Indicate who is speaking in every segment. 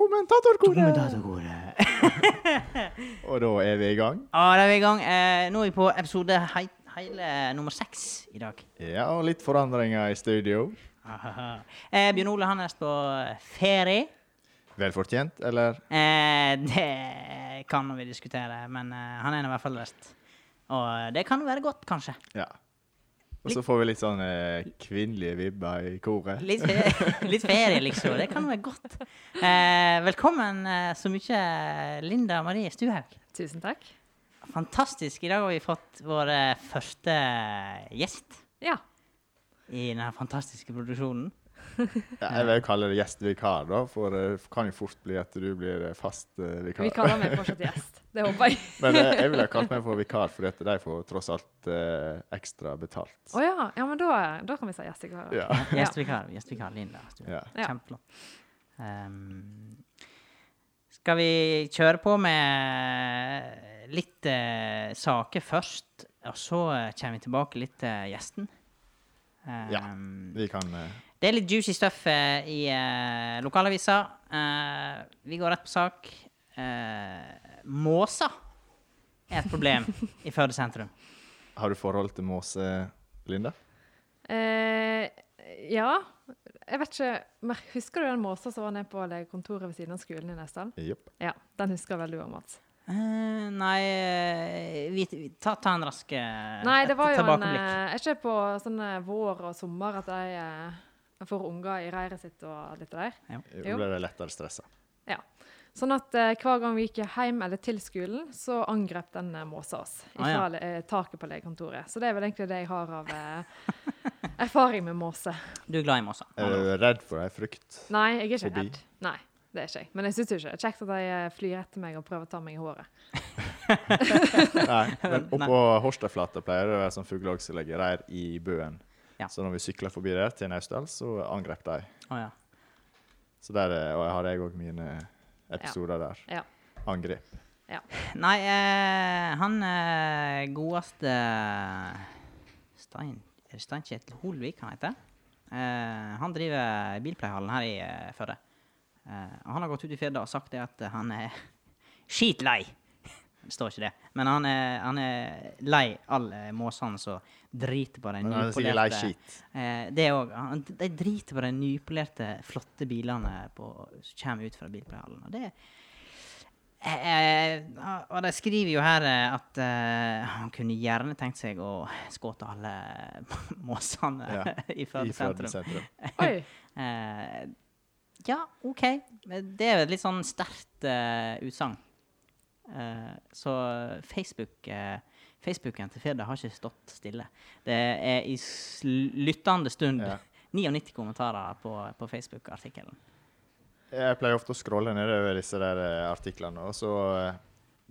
Speaker 1: Kommentatorkoret!
Speaker 2: Kommentatorkoret.
Speaker 1: Og da er vi i gang.
Speaker 2: Ja, da er vi i gang. Eh, nå er vi på episode hei, hele nummer seks i dag.
Speaker 1: Ja, og litt forandringer i studio.
Speaker 2: Ahaha. Eh, Bjørn Ole han er på ferie.
Speaker 1: Velfortjent, eller?
Speaker 2: Eh, det kan vi diskutere, men eh, han er nå i hvert fall rest. Og det kan være godt, kanskje.
Speaker 1: Ja. Og så får vi litt sånn eh, kvinnelige vibber i koret.
Speaker 2: Litt, fe- litt ferie, liksom. Det kan være godt. Eh, velkommen eh, så mye, Linda Marie Stuhaug.
Speaker 3: Tusen takk.
Speaker 2: Fantastisk. I dag har vi fått vår eh, første gjest
Speaker 3: Ja.
Speaker 2: i denne fantastiske produksjonen.
Speaker 1: Ja, jeg vil jo kalle det gjestvikar, da, for det kan jo fort bli at du blir eh, fast eh, vikar.
Speaker 3: Vi kaller meg fortsatt gjest. Det håper jeg.
Speaker 1: Men eh, jeg ville ha kalt meg for vikar, for de får tross alt eh, ekstra betalt.
Speaker 3: Å ja. ja, men da, da kan vi si gjest i kveld.
Speaker 1: Ja.
Speaker 3: Ja.
Speaker 2: Gjestvikar, gjestvikar Linda. Stuhaug.
Speaker 1: ja.
Speaker 3: Ja.
Speaker 2: Kjempeflott. Ehm, skal vi kjøre på med litt eh, saker først, og så eh, kommer vi tilbake litt til gjesten?
Speaker 1: Ja.
Speaker 2: Ehm,
Speaker 1: Vi kan eh,
Speaker 2: Det er litt juicy stuff eh, i eh, lokalavisa. Eh, vi går rett på sak. Uh, måser er et problem i Førde sentrum.
Speaker 1: Har du forhold til måse, Linda?
Speaker 3: Eh, ja. Jeg vet ikke men Husker du den måsa som var nede på legekontoret ved siden av skolen i Nesdal?
Speaker 1: Jepp.
Speaker 3: Ja, den husker vel du òg, Mats.
Speaker 2: Eh, nei eh, vi, vi, ta, ta en rask eh,
Speaker 3: Nei, det
Speaker 2: et
Speaker 3: var jo en eh,
Speaker 2: tilbakeblikk.
Speaker 3: Er ikke det på sånn eh, vår og sommer at de eh, får unger i reiret sitt og litt der?
Speaker 1: Nå
Speaker 3: Jo.
Speaker 1: ble jeg lettere stressa.
Speaker 3: Ja. Sånn at eh, hver gang vi gikk hjem eller til skolen, så angrep den eh, måsa oss
Speaker 2: Ah,
Speaker 3: fra
Speaker 2: ja.
Speaker 3: le- eh, taket på legekontoret. Så det er vel egentlig det jeg har av eh, erfaring med måse.
Speaker 2: Du er glad i måser?
Speaker 1: Er du redd for ei frykt?
Speaker 3: Nei, jeg er ikke
Speaker 1: Fobi?
Speaker 3: redd. Nei, det er ikke jeg. Men jeg syns jo ikke det er kjekt at de eh, flyr etter meg og prøver å ta meg i håret.
Speaker 1: Nei, men oppå Horstadflata pleier det å være sånn fuglelag som legger reir i bøen.
Speaker 2: Ja.
Speaker 1: Så når vi sykla forbi der til Naustdal, så angrep de.
Speaker 2: Å ja.
Speaker 1: Så der eh, og jeg har jeg òg mine episoder der.
Speaker 3: Ja.
Speaker 1: Angrep.
Speaker 2: Nei, eh, han eh, godeste Stein, er det Steinkjetil Holvik han heter. Eh, han driver bilpleiehallen her i eh, Førde. Eh, og han har gått ut i Firda og sagt det at eh, han er skitlei. Det står ikke det. Men han er, han er lei alle måsene som driter på de
Speaker 1: Men han er sikkert lei skit.
Speaker 2: Eh, det òg. De driter på de nypolerte, flotte bilene på, som kommer ut fra bilpleiehallen. Og det Eh, og de skriver jo her eh, at eh, han kunne gjerne tenkt seg å skåte alle måsene
Speaker 1: Ja,
Speaker 2: i
Speaker 1: I
Speaker 2: Førde sentrum.
Speaker 1: Førde sentrum.
Speaker 3: Oi!
Speaker 2: Eh, ja, OK. Men Det er jo et litt sånn sterkt eh, utsagn. Eh, så Facebook eh, Facebooken til Firda har ikke stått stille. Det er i s- lyttende stund
Speaker 1: Ja.
Speaker 2: 99 kommentarer på, på Facebook-artikkelen.
Speaker 1: Jeg pleier ofte å scrolle nedover disse der eh, artiklene, og så eh,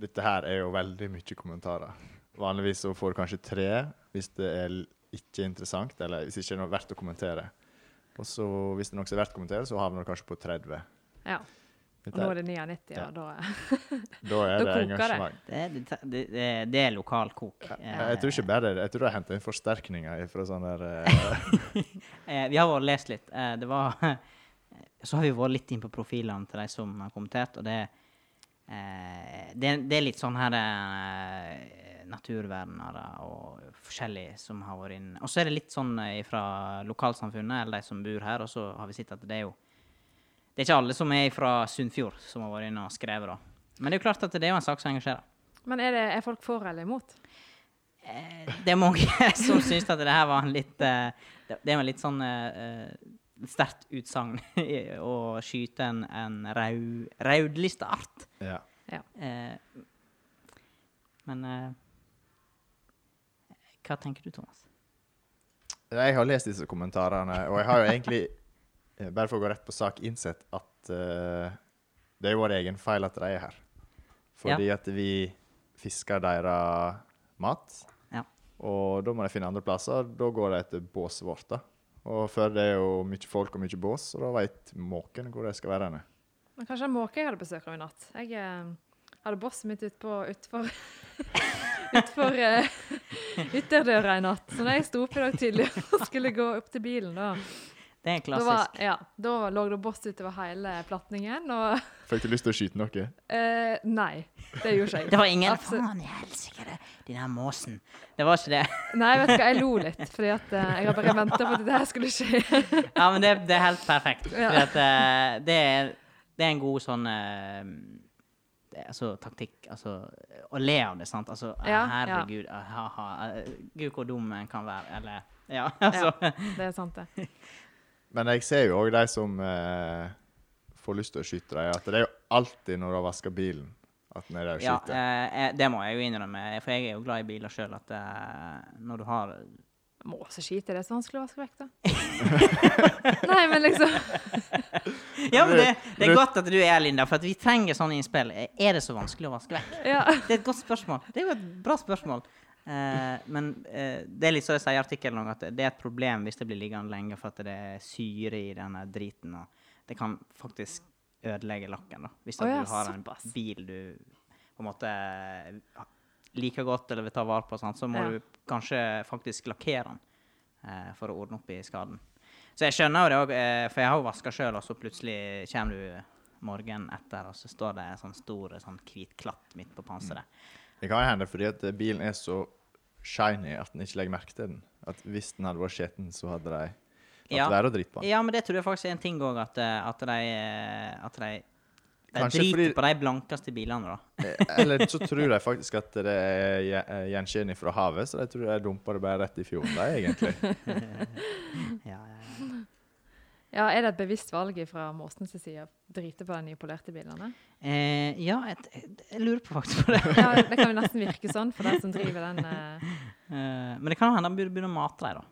Speaker 1: Dette her er jo veldig mye kommentarer. Vanligvis så får du kanskje tre hvis det er l- ikke interessant, eller hvis det ikke er noe verdt å kommentere. Og så hvis det er noe som er verdt å kommentere, så havner du kanskje på 30.
Speaker 3: Ja.
Speaker 1: Dette
Speaker 3: Og nå
Speaker 1: her-
Speaker 3: er det 99, og
Speaker 1: Ja.
Speaker 3: da eh,
Speaker 1: Da er
Speaker 3: Da
Speaker 1: det
Speaker 3: koker det.
Speaker 1: engasjement.
Speaker 2: Det, er- det, det, det- det er lokalkok.
Speaker 1: Jeg, jeg tror ikke bare det. Jeg tror de har henta inn forsterkninger fra sånn der eh,
Speaker 2: Eh, vi har vært og lest litt. Eh, det var Så har vi vært litt inn på profilene til de som har kommentert, og det eh, det, det er litt sånn her eh, naturvernere og forskjellig som har vært inn. Og så er det litt sånn fra lokalsamfunnet, eller de som bor her, og så har vi sett at det er jo Det er ikke alle som er fra Sunnfjord som har vært inne og skrevet, da. Men det er jo klart at det er jo en sak som engasjerer.
Speaker 3: Men er, det, er folk for eller imot?
Speaker 2: Eh, det er mange som syns at det her var en litt eh, Det det var en litt sånn eh, eh, sterkt utsagn i å skyte en, en rau, raudlista art.
Speaker 1: ja.
Speaker 3: Ja.
Speaker 2: Eh, men eh, Hva tenker du, Thomas?
Speaker 1: Jeg har lest disse kommentarene, og jeg har jo egentlig, eh, bare for å gå rett på sak, innsett at eh, det er vår egen feil at de er her. Fordi at vi fisker deres mat,
Speaker 2: Ja.
Speaker 1: og da må de finne andre plasser. Da går de etter båsvorter. Og før det er jo mye folk og mye bås, og da veit måken hvor de skal være. henne.
Speaker 3: Men kanskje en måke jeg hadde besøk av i natt. Jeg eh, hadde bosset mitt ut på, utfor utfor eh, ytterdøra i natt. Så da jeg sto opp i dag tidlig og skulle gå opp til bilen, da,
Speaker 2: Det er
Speaker 3: Da, var,
Speaker 2: klassisk.
Speaker 3: ja, da lå det boss utover hele platningen, og
Speaker 1: Fikk du lyst til å skyte noe?
Speaker 3: eh, Nei, det gjorde ikke
Speaker 2: Det
Speaker 3: jeg.
Speaker 2: var ingen
Speaker 3: Absolutt.
Speaker 2: Faen i helsike, det- den her måsen. Det var ikke det.
Speaker 3: Nei, vet du hva, jeg lo litt, fordi at eh, jeg har bare venta på at det her skulle skje.
Speaker 2: Ja, men det, det er helt perfekt. Fordi
Speaker 3: Ja.
Speaker 2: at, eh, det, er, det er en god sånn eh, det, altså, taktikk. Altså, å le av det, sant. Altså,
Speaker 3: Ja, ja.
Speaker 2: herregud, ah, ha-ha. eh, Gud, hvor dum en kan være. Eller Ja, altså.
Speaker 3: Det er sant, det.
Speaker 1: Men jeg ser jo òg de som eh, får lyst til å skyte dem, at det er jo alltid når du har vaska bilen, at en er der og
Speaker 2: Ja,
Speaker 1: skyter.
Speaker 2: eh, eh, det må jeg jo innrømme, for jeg er jo glad i biler sjøl, at eh, når du har
Speaker 3: Må så skite i det, så vanskelig å vaske vekk, da. Nei, men liksom
Speaker 2: Ja, men det,
Speaker 1: Men-
Speaker 2: det er godt at du er her, Linda, for at vi trenger sånne innspill. Eh, Er det så vanskelig å vaske vekk?
Speaker 3: Ja.
Speaker 2: Det er et godt spørsmål. Det er jo et bra spørsmål. Eh, men eh, det er litt som jeg sier i artikkelen, også, at det er et problem hvis det blir liggende lenge for at det er syre i denne driten. Og det kan faktisk ødelegge lakken. Da, hvis
Speaker 3: Å
Speaker 2: at
Speaker 3: ja,
Speaker 2: du har en
Speaker 3: såpass.
Speaker 2: bil du på en måte eh, liker godt eller vil ta vare på, sant, så må
Speaker 3: Ja.
Speaker 2: du kanskje faktisk lakkere den eh, for å ordne opp i skaden. Så jeg skjønner jo det òg, eh, for jeg har jo vaska sjøl, og så plutselig kommer du morgenen etter, og så står det en sånn stor eh, sånn hvit klatt midt på panseret.
Speaker 1: Det kan hende fordi at eh, bilen er så shiny at en ikke legger merke til den. At hvis den hadde vært skjeten, så hadde de latt
Speaker 2: Ja.
Speaker 1: være å drite på den.
Speaker 2: Ja, men det tror jeg faktisk er en ting òg, at, eh, at de eh, At de, de
Speaker 1: Kanskje
Speaker 2: driter
Speaker 1: fordi-
Speaker 2: på de blankeste bilene, da.
Speaker 1: Eh, Eller så tror de faktisk at det er gje- eh, gjenskinn fra havet, så de tror de dumper det bare rett i fjorden, de, egentlig.
Speaker 2: Ja, ja, ja.
Speaker 3: ja, er det et bevisst valg fra Måsens side å drite på de nypolerte bilene?
Speaker 2: Eh, ja jeg, jeg, jeg lurer på faktisk på det.
Speaker 3: Ja, det kan jo nesten virke sånn for den som driver den eh,
Speaker 2: Eh, men det kan hende han burde begynne å mate dem, da.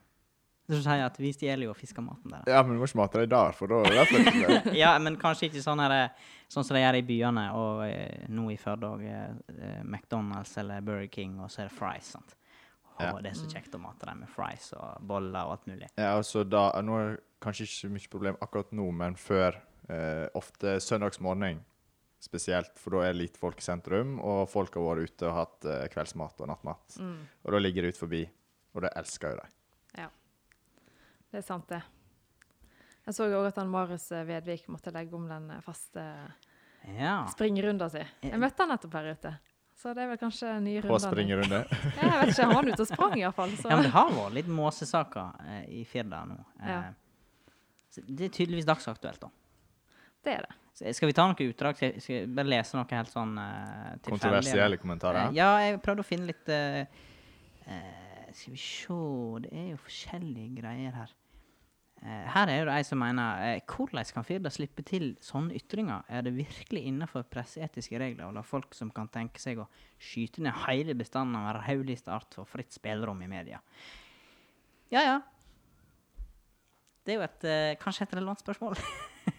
Speaker 2: Så sier jeg at vi stjeler jo og fisker maten deres.
Speaker 1: Ja, men du må ikke mate dem der, for da da får du det.
Speaker 2: ja, men kanskje ikke sånn, her, eh, sånn som de gjør i byene, og eh, nå i Førde òg. Eh, McDonald's eller Burger King, og så er det fries. sant? Å,
Speaker 1: Ja.
Speaker 2: Det er
Speaker 3: Mm.
Speaker 2: så kjekt å mate dem med fries og boller og alt mulig.
Speaker 1: Ja, altså da, nå er det kanskje ikke så mye problem akkurat nå, men før eh, ofte søndagsmorgen spesielt, for da er det lite folk i sentrum, og folk har vært ute og hatt eh, kveldsmat og nattmat.
Speaker 3: mm,
Speaker 1: Og da ligger det ut forbi, og det elsker jo de.
Speaker 3: Det er sant, det. Jeg så òg at han Marius eh, Vedvik måtte legge om den eh, faste
Speaker 2: Ja.
Speaker 3: springrunda si. Jeg møtte han nettopp her ute. Så det er vel kanskje den nye
Speaker 1: På
Speaker 3: runden.
Speaker 1: springerunde.
Speaker 3: Ja, jeg vet ikke, han var ute og sprang iallfall.
Speaker 2: Ja, men
Speaker 3: Så.
Speaker 2: det har vært litt måsesaker eh, i Firda nå. Eh,
Speaker 3: Ja.
Speaker 2: så det er tydeligvis dagsaktuelt, da.
Speaker 3: Det er det.
Speaker 2: Så skal vi ta noen utdrag? Skal jeg- skal jeg bare lese noe helt sånn eh, tilfeldig? eller?
Speaker 1: Kontroversielle kommentarer.
Speaker 2: Eh, Ja, jeg prøvde å finne litt eh, eh, Skal vi se Det er jo forskjellige greier her. Eh, her er det ei som mener eh, Hvordan kan Firda slippe til sånne ytringer? Er det virkelig innenfor presseetiske regler å la folk som kan tenke seg å skyte ned hele bestanden av en raudlista art, få fritt spillerom i media? Ja, ja. Det er jo et eh, kanskje et relevant spørsmål.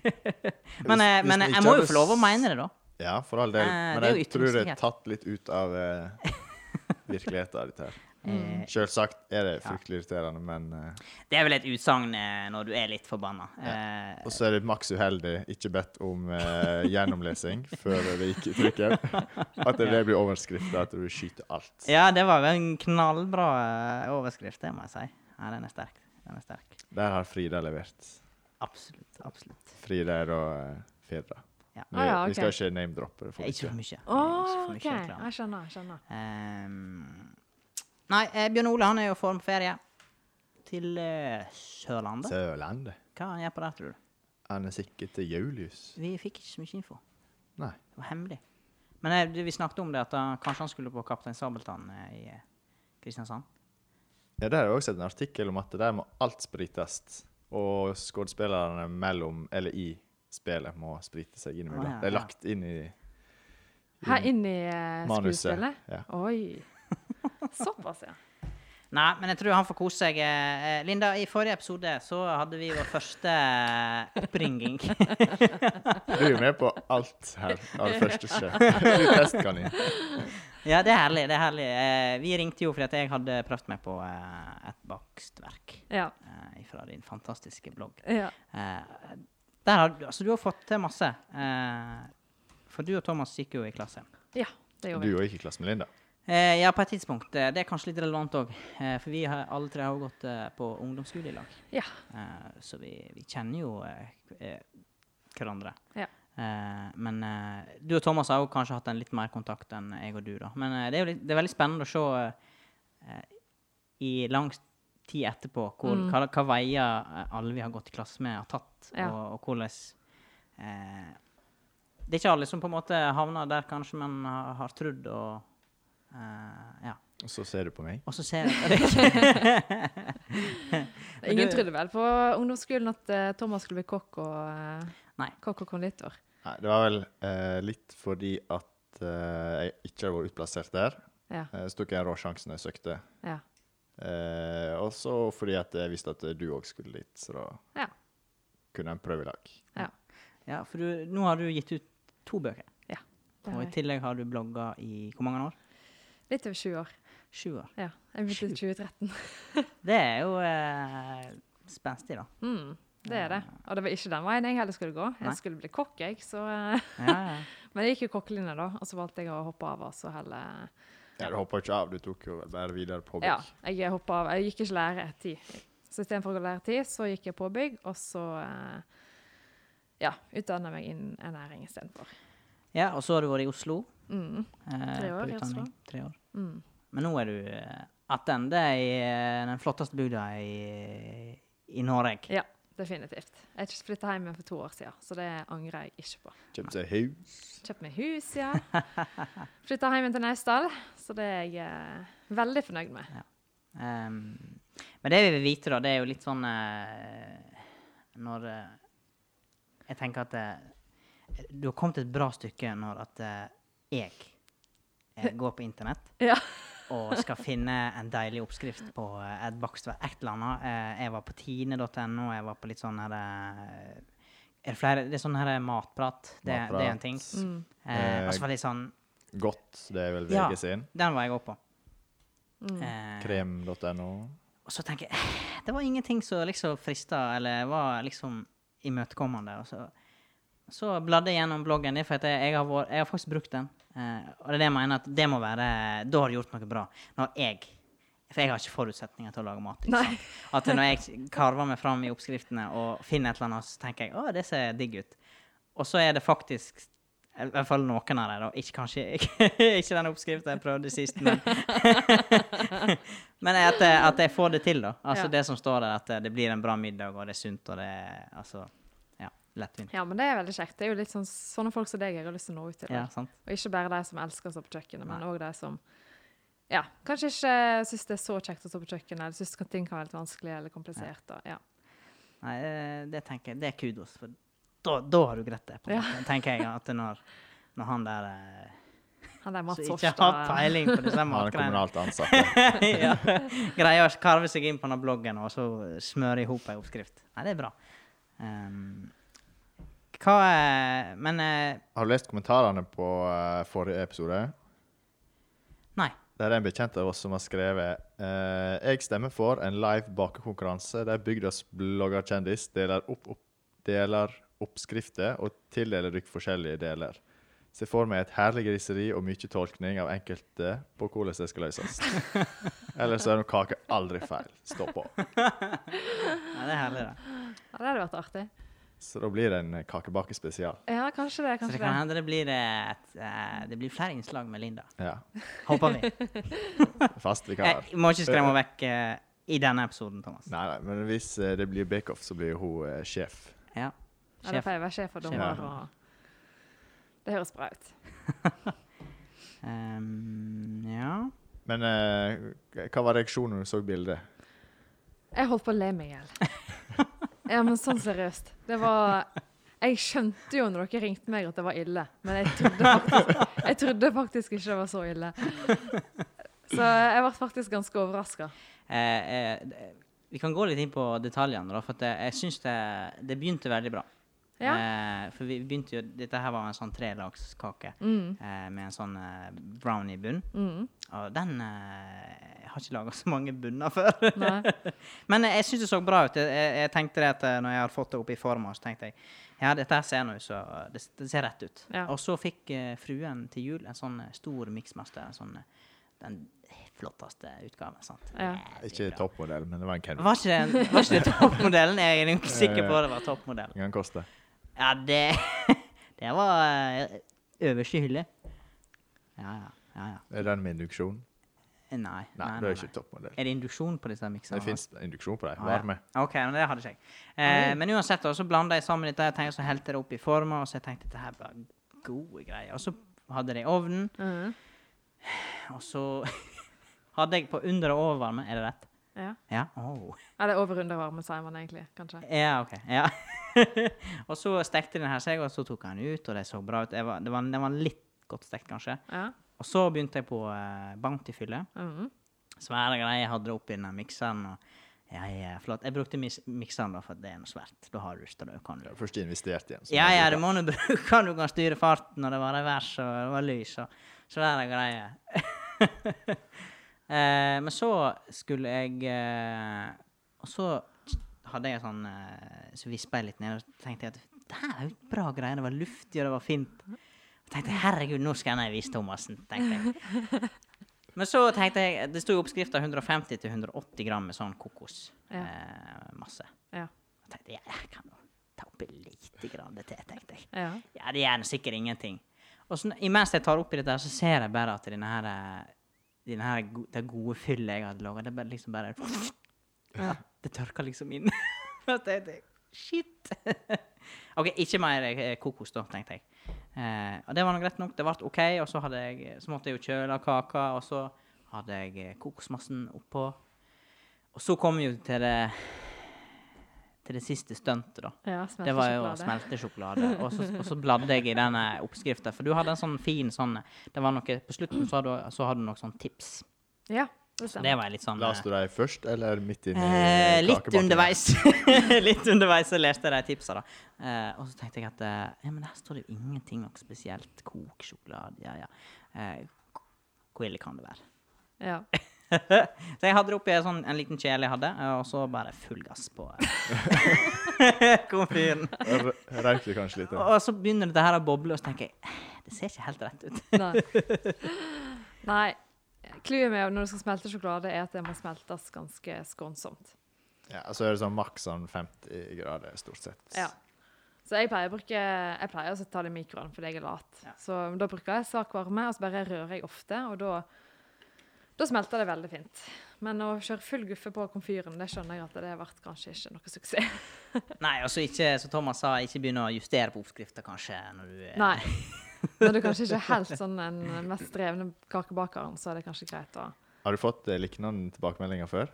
Speaker 2: men eh,
Speaker 1: Hvis- hvis
Speaker 2: men
Speaker 1: den
Speaker 2: jeg
Speaker 1: ikke
Speaker 2: må jo
Speaker 1: hadde
Speaker 2: få lov å
Speaker 1: s-
Speaker 2: mene det, da.
Speaker 1: Ja, for all del.
Speaker 2: Eh,
Speaker 1: Men
Speaker 2: det er jo
Speaker 1: jeg tror det er
Speaker 2: ytringsfrihet.
Speaker 1: tatt litt ut av eh, virkeligheten, dette her.
Speaker 2: Eh,
Speaker 1: Selvsagt er det fryktelig irriterende, men eh,
Speaker 2: Det er vel et utsagn eh, når du er litt forbanna. Eh,
Speaker 1: Og så er det maks uheldig, ikke bedt om eh, gjennomlesing før det gikk i trykken. At det, det blir overskrifta at du skyter alt.
Speaker 2: ja, det var vel en knallbra eh, overskrift, det må jeg si. Ja, den er sterk. Den er sterk.
Speaker 1: Der har Frida levert.
Speaker 2: Absolutt. absolutt.
Speaker 1: Frida er da eh, Firda.
Speaker 2: Ja.
Speaker 1: Vi,
Speaker 3: Ah, ja, ok.
Speaker 1: vi skal ikke name-droppe det. for
Speaker 2: Ikke
Speaker 1: mye.
Speaker 2: for mye.
Speaker 3: Å,
Speaker 2: Ikke for mye
Speaker 3: OK.
Speaker 2: reklame.
Speaker 3: Jeg skjønner. jeg skjønner.
Speaker 2: Ehm, nei, eh, Bjørn Ole han er jo i form for ferie til eh, Sørlandet.
Speaker 1: Sørlandet.
Speaker 2: Hva han gjør på der, tror du?
Speaker 1: Han er sikkert til Julius.
Speaker 2: Vi fikk ikke så mye info.
Speaker 1: Nei.
Speaker 2: Det var hemmelig. Men eh, det- vi snakket om det at han, kanskje han skulle på Kaptein Sabeltann eh, i eh, Kristiansand.
Speaker 1: Ja, Der har jeg også sett en artikkel om at der må alt sprites. Og skuespillerne mellom, eller i, spillet må sprite seg innimellom.
Speaker 2: Ah, ja,
Speaker 1: Det er
Speaker 2: ja.
Speaker 1: lagt inn i
Speaker 2: Mm.
Speaker 3: Her inn i eh,
Speaker 1: Manuset,
Speaker 3: skuespillet?
Speaker 1: ja.
Speaker 3: Oi. Såpass, ja.
Speaker 2: Nei, men jeg tror han får kose seg. Eh, Linda, i forrige episode så hadde vi vår første eh, oppringing.
Speaker 1: Du er jo med på alt her av det første skjer. Du er testkanin.
Speaker 2: ja, det er herlig. det er herlig. Eh, vi ringte jo fordi at jeg hadde prøvd meg på eh, et bakstverk
Speaker 3: Ja.
Speaker 2: eh, fra din fantastiske blogg.
Speaker 3: ja.
Speaker 2: Eh, der har, altså, du har fått til masse. Eh, for du og Thomas gikk jo i klasse.
Speaker 3: Ja, det gjorde
Speaker 1: Du
Speaker 3: vi.
Speaker 1: og ikke i klasse med Linda.
Speaker 2: Eh, ja, på et tidspunkt. Eh, Det er kanskje litt relevant òg. Eh, for vi har alle tre har jo gått eh, på ungdomsskole i lag.
Speaker 3: Ja.
Speaker 2: Eh, så vi, vi kjenner jo eh, k- eh, hverandre.
Speaker 3: Ja.
Speaker 2: Eh, men eh, du og Thomas har jo kanskje hatt en litt mer kontakt enn jeg og du, da. Men eh, det er jo litt, det er veldig spennende å se eh, eh, i lang tid etterpå hvor,
Speaker 3: Mm.
Speaker 2: hva, hva veier eh, alle vi har gått i klasse med, har tatt,
Speaker 3: Ja.
Speaker 2: og, og hvordan eh, Det er ikke alle som på en måte havner der kanskje man har, har trodd og eh, Ja.
Speaker 1: Og så ser du på meg.
Speaker 2: Og så ser jeg det.
Speaker 3: Ingen
Speaker 2: det-
Speaker 3: trodde vel på ungdomsskolen at eh, Thomas skulle bli kokk og,
Speaker 2: Nei.
Speaker 3: eh, kokk og konditor.
Speaker 1: Nei, det var vel eh, litt fordi at eh, jeg ikke hadde vært utplassert der.
Speaker 3: Ja.
Speaker 1: Eh, så tok jeg rå sjansen når jeg søkte.
Speaker 3: ja.
Speaker 1: Eh, og så fordi at jeg visste at du òg skulle dit, så da
Speaker 3: Ja.
Speaker 1: kunne en prøve i lag.
Speaker 2: ja, for du, nå har du gitt ut to bøker,
Speaker 3: Det
Speaker 2: og i
Speaker 3: har jeg.
Speaker 2: tillegg har du blogga i hvor mange år?
Speaker 3: Litt over 20 år.
Speaker 2: Sju år.
Speaker 3: Ja. Jeg begynte i 2013.
Speaker 2: Det er jo eh, spenstig, da.
Speaker 3: Mm, det er det. Og det var ikke den veien jeg heller skulle gå.
Speaker 2: Nei.
Speaker 3: Jeg skulle bli kokk, jeg. Så, eh,
Speaker 2: Ja, ja.
Speaker 3: men jeg gikk jo kokkelinja da, og så valgte jeg å hoppe av og så heller
Speaker 1: Ja, du hoppa ikke av, du tok jo bare videre på
Speaker 3: Ja,
Speaker 1: bok.
Speaker 3: jeg hoppet av. Jeg gikk ikke lære ti. Så istedenfor å gå lære ti, så gikk jeg påbygg, og så eh, ja, utdanna meg innen ernæring istedenfor.
Speaker 2: ja, og så har du vært i Oslo.
Speaker 3: Mm.
Speaker 2: eh,
Speaker 3: Tre år
Speaker 2: på
Speaker 3: i Oslo.
Speaker 2: utdanning. Tre år.
Speaker 3: Mm.
Speaker 2: Men nå er du eh, attende i eh, den flotteste bygda i, i Norge.
Speaker 3: Ja, definitivt. Jeg flytta hjem for to år siden, så det angrer jeg ikke på.
Speaker 1: Kjøpte seg hus.
Speaker 3: Kjøpt meg hus, ja. Flytta hjem til Naustdal, så det er jeg eh, veldig fornøyd med.
Speaker 2: Ehm, men det vi vil vite, da, det er jo litt sånn eh, Når eh, Jeg tenker at eh, du har kommet et bra stykke når at eh, jeg eh, går på internett
Speaker 3: Ja.
Speaker 2: og skal finne en deilig oppskrift på eh, et bakstverk. Et eller annet. Eh, jeg var på tine.no, jeg var på litt sånn her eh, er det, flere, det er sånn her matprat. Det, det er en ting.
Speaker 3: Mm.
Speaker 2: Eh, og så var det sånn
Speaker 1: Godt, det er vel VG
Speaker 2: Ja.
Speaker 1: sin.
Speaker 2: Den var jeg òg på.
Speaker 3: Mm.
Speaker 2: Eh,
Speaker 1: Krem.no.
Speaker 2: Og så tenker jeg eh, Det var ingenting som liksom frista, eller var liksom imøtekommende. Og så, så bladde jeg gjennom bloggen din, for at jeg, jeg, har vært, jeg har faktisk brukt den. Eh, og det er det jeg mener, at det må være eh, Da har du gjort noe bra. Når jeg For jeg har ikke forutsetninger til å lage mat. Ikke
Speaker 3: Nei.
Speaker 2: sant? At når jeg karver meg fram i oppskriftene og finner et eller annet, så tenker jeg å, det ser digg ut. Og så er det faktisk i hvert fall noen av dem, da. Ikke, kanskje, ikke, ikke den oppskriften jeg prøvde sist, men Men at, jeg- at jeg får det til, da. Altså
Speaker 3: Ja.
Speaker 2: Det som står der, at det blir en bra middag, og det er sunt, og det er altså Ja, lettvint.
Speaker 3: Ja, men det er veldig kjekt. Det er jo litt sånn, sånne folk som deg jeg har lyst til å nå ut til.
Speaker 2: Ja, sant?
Speaker 3: Og ikke bare de som elsker å stå på kjøkkenet, men
Speaker 2: Nei.
Speaker 3: òg de som ja, kanskje ikke syns det er så kjekt å stå på kjøkkenet, eller syns ting kan være litt vanskelig eller komplisert. Og, ja.
Speaker 2: Nei, eh, det tenker jeg, det er kudos. For da, da har du greit det, på en
Speaker 3: Ja.
Speaker 2: måte, tenker jeg. At når, når han der eh,
Speaker 3: Han der Mats
Speaker 2: som ikke har
Speaker 3: Hofstad
Speaker 2: peiling på disse
Speaker 1: Han er
Speaker 2: matgreiene
Speaker 1: kommunalt ansatt.
Speaker 2: ja. Greier å karve seg inn på denne bloggen og så smøre i hop ei oppskrift. Nei, det er bra. Ehm, hva er Men eh,
Speaker 1: Har du lest kommentarene på eh, forrige episode?
Speaker 2: Nei.
Speaker 1: Der er en bekjent av oss som har skrevet eh, Jeg stemmer for en live bakekonkurranse der bygdas bloggerkjendis deler, opp, opp, deler oppskrifter og tildeler dere forskjellige deler. Se for meg et herlig griseri og mye tolkning av enkelte på hvordan det skal løses. Ellers er noen kake aldri feil. Stå på.
Speaker 2: Nei, det er herlig, det.
Speaker 3: Ja, det hadde vært artig.
Speaker 1: Så da blir det en kakebakespesial.
Speaker 3: Ja, kanskje det.
Speaker 2: Så
Speaker 3: kanskje
Speaker 2: det kan hende det blir, eh, et, eh, det blir flere innslag med Linda.
Speaker 1: Ja.
Speaker 2: Håper vi.
Speaker 1: Fast vikar.
Speaker 2: Jeg må ikke skremme henne vekk eh, i denne episoden, Thomas.
Speaker 1: Nei, nei, men hvis eh, det blir bake-off, så blir hun eh, sjef.
Speaker 2: Ja.
Speaker 3: Ja, da
Speaker 2: Sjef.
Speaker 3: får jeg være sjef og
Speaker 1: Sjef.
Speaker 3: dommer. Og det høres bra ut.
Speaker 2: Ehm, ja.
Speaker 1: Men eh, hva var reaksjonen når du så bildet?
Speaker 3: Jeg holdt på å le meg i hjel. Ja, men sånn seriøst. Det var Jeg skjønte jo når dere ringte meg at det var ille, men jeg trodde faktisk, jeg trodde faktisk ikke det var så ille. Så jeg ble faktisk ganske overraska.
Speaker 2: Eh, eh, d- vi kan gå litt inn på detaljene, da, for at jeg, jeg syns det, det begynte veldig bra.
Speaker 3: Ja.
Speaker 2: Eh, for vi begynte jo Dette her var en sånn trelagskake
Speaker 3: Mm.
Speaker 2: eh, med en sånn eh, brownie bunn.
Speaker 3: Mm.
Speaker 2: Og den eh, Jeg har ikke laga så mange bunner før.
Speaker 3: Nei.
Speaker 2: Men jeg syns det så bra ut. Jeg, jeg, jeg tenkte det at eh, når jeg har fått det opp i forma, så tenkte jeg ja, dette her ser nå ut som det, det ser rett ut.
Speaker 3: Ja.
Speaker 2: Og så fikk eh, fruen til jul en sånn eh, stor miksmaster. En sånn eh, den flotteste utgaven. sant?
Speaker 3: Ja.
Speaker 2: Jævlig
Speaker 1: Ikke
Speaker 2: bra.
Speaker 1: toppmodell, men det var en kødd.
Speaker 2: Var ikke det, var ikke det toppmodellen? Jeg er ikke sikker på at det var toppmodellen.
Speaker 1: Den kan koste.
Speaker 2: Ja, det Det var eh, øverste hylle. Ja, ja. ja, ja.
Speaker 1: Er den med induksjon?
Speaker 2: Eh, Nei.
Speaker 1: Nei, det er ikke toppmodell.
Speaker 2: Er det induksjon på disse mikserne?
Speaker 1: Det fins induksjon på dem.
Speaker 2: Ah, ja.
Speaker 1: Varme.
Speaker 2: OK, men det hadde ikke jeg. Eh, men uansett, da, så blanda jeg sammen dette, jeg tenkte, så helte jeg det opp i former, og så jeg tenkte dette her var gode greier. Og så hadde jeg det i ovnen,
Speaker 3: Mhm.
Speaker 2: og så hadde jeg på under- og overvarme. Er det rett?
Speaker 3: ja.
Speaker 2: Ja. Oh.
Speaker 3: Eller over under varme, sier man egentlig. Kanskje.
Speaker 2: Ja, OK. Ja. og så stekte den her seg, og så tok jeg den ut, og det så bra ut. Jeg var, det, var, det var litt godt stekt, kanskje.
Speaker 3: Ja.
Speaker 2: Og så begynte jeg på eh, Bounty-fylle.
Speaker 3: Mhm.
Speaker 2: Svære greier. Jeg hadde det oppi den mikseren. og ja, ja, flott. Jeg brukte mis- mikseren, da, for at det er noe svært. Da har du lyst til det. Kan du.
Speaker 1: Du har først investert igjen.
Speaker 2: Ja, ja, det må du bruke. Du kan styre farten, og det var revers, og det var lys, og svære greier. eh, men så skulle jeg eh, Og så hadde jeg sånn eh, Så vispa jeg litt ned, og så tenkte jeg at det her er jo bra greier. Det var luftig, og det var fint. Jeg tenkte herregud, nå skal jeg vise Thomassen, tenkte jeg. Men så tenkte jeg Det sto i oppskrifta 150 til 180 gram med sånn
Speaker 3: Ja.
Speaker 2: kokosmasse. Eh, masse.
Speaker 3: Ja.
Speaker 2: Jeg tenkte jeg, jeg kan jo ta oppi lite grann det til, tenkte jeg.
Speaker 3: ja.
Speaker 2: Ja, det gjør nå sikkert ingenting. Og så, imens jeg tar oppi dette, her, så ser jeg bare at denne her, eh, denne her, go- det gode fyllet jeg hadde laga, det bare liksom bare
Speaker 3: Ja.
Speaker 2: Det tørka liksom inn. Da tenkte jeg, Shit. OK, ikke mer eh, kokos, da, tenkte jeg. Eh, og det var nå greit nok. Det ble OK, og så, hadde jeg, så måtte jeg jo kjøle kaka, og så hadde jeg eh, kokosmassen oppå. Og så kom vi jo til det, til det siste stuntet, da.
Speaker 3: ja smelte
Speaker 2: Det var jo å
Speaker 3: sjokolade.
Speaker 2: smelte sjokolade. Og så, og så bladde jeg i denne oppskrifta. For du hadde en sånn fin sånn det var noe, På slutten så hadde, så hadde du noen sånne tips.
Speaker 3: Ja, det
Speaker 2: Så det
Speaker 3: stemmer.
Speaker 2: var litt sånn
Speaker 1: Leste du dem først, eller midt inni
Speaker 2: eh, Litt
Speaker 1: kakebakken?
Speaker 2: underveis Litt underveis så leste jeg de tipsa, da. Eh, og så tenkte jeg at eh, ja, men her står det jo ingenting noe spesielt. Kok sjokolade, ja ja. Eh, hvor ille kan det være?
Speaker 3: Ja.
Speaker 2: så jeg hadde det oppi en sånn, en liten kjele jeg hadde, eh, og så bare full gass på eh, komfyren.
Speaker 1: Rø- Røyk du kanskje litt? da?
Speaker 2: Og så begynner dette her å boble, og så tenker jeg "Eh, det ser ikke helt rett ut.
Speaker 3: Nei. Nei. Clouet med når du skal smelte sjokolade, er at det må smeltes ganske skånsomt.
Speaker 1: Ja, så er det sånn maks sånn 50 grader, stort sett.
Speaker 3: Ja. Så jeg pleier å bruke Jeg pleier også å ta det i mikroen fordi jeg er lat.
Speaker 2: Ja.
Speaker 3: Så da bruker jeg svak varme, og så bare rører jeg ofte, og da da smelter det veldig fint. Men å kjøre full guffe på komfyren, det skjønner jeg at det ble kanskje ikke noe suksess.
Speaker 2: Nei, altså ikke, som Thomas sa, ikke begynne å justere på oppskrifta, kanskje. Når du,
Speaker 3: Nei. Når du kanskje ikke er helt sånn den mest drevne kakebakeren, så er det kanskje greit å
Speaker 1: Har du fått eh, lignende tilbakemeldinger før?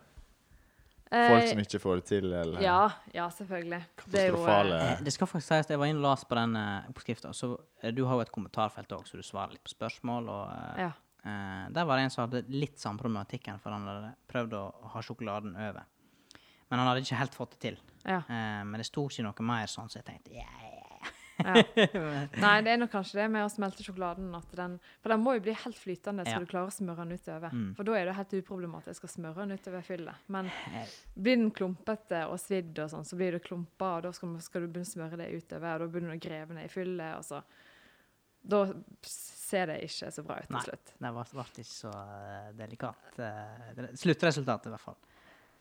Speaker 3: Eh,
Speaker 1: Folk som ikke får det til, eller
Speaker 3: Ja, ja, selvfølgelig. Det er jo, eh,
Speaker 1: katastrofale
Speaker 2: Eh, Det skal faktisk sies, jeg var inne og las på den eh, oppskrifta. Så eh, du har jo et kommentarfelt òg, så du svarer litt på spørsmål. Og, eh,
Speaker 3: Ja.
Speaker 2: eh, der var det en som hadde litt samme problematikken, for han hadde prøvd å ha sjokoladen over. Men han hadde ikke helt fått det til.
Speaker 3: ja.
Speaker 2: Eh, men det sto ikke noe mer sånn, så jeg tenkte ja, ja,
Speaker 3: Ja.
Speaker 2: ja.
Speaker 3: Nei, det er nok kanskje det med å smelte sjokoladen. At den, for den må jo bli helt flytende, så
Speaker 2: Ja.
Speaker 3: du klarer å smøre den utover.
Speaker 2: Mm.
Speaker 3: For da er det helt uproblematisk å smøre den utover fyllet. Men
Speaker 2: Eh,
Speaker 3: blir den klumpete og svidd, og sånn, så blir det klumper, og da skal, man- skal du begynne å smøre det utover, og da begynner du å grave ned i fyllet, og så Da ser det ikke så bra ut til
Speaker 2: Nei.
Speaker 3: slutt.
Speaker 2: Det ble ble ikke så eh, delikat. eh, det- Sluttresultatet, i hvert fall.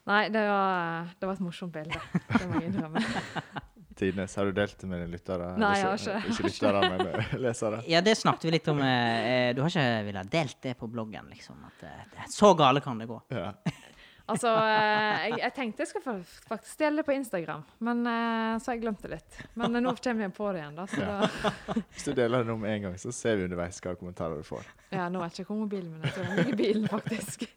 Speaker 3: Nei, det var, det var et morsomt bilde. Det må jeg innrømme.
Speaker 1: tidenes. Har du delt det med dine lyttere?
Speaker 3: Nei, jeg har
Speaker 1: Leser-
Speaker 3: ikke.
Speaker 1: Ikke lyttere, men eh, lesere.
Speaker 2: Ja, det snakket vi litt om. eh, eh, Du har ikke villet delt det på bloggen, liksom? At eh, det- så gale kan det gå.
Speaker 1: Ja.
Speaker 3: Altså, eh, jeg, jeg tenkte jeg skulle fa- faktisk dele det på Instagram, men eh, så har jeg glemt det litt. Men eh, nå kommer jeg på det igjen, da. Så
Speaker 1: Ja.
Speaker 3: da
Speaker 1: Hvis du deler det om en gang, så ser vi underveis hva kommentarer du får.
Speaker 3: Ja, nå vet jeg ikke hvor mobilen min er. Jeg tror den ligger i bilen, faktisk.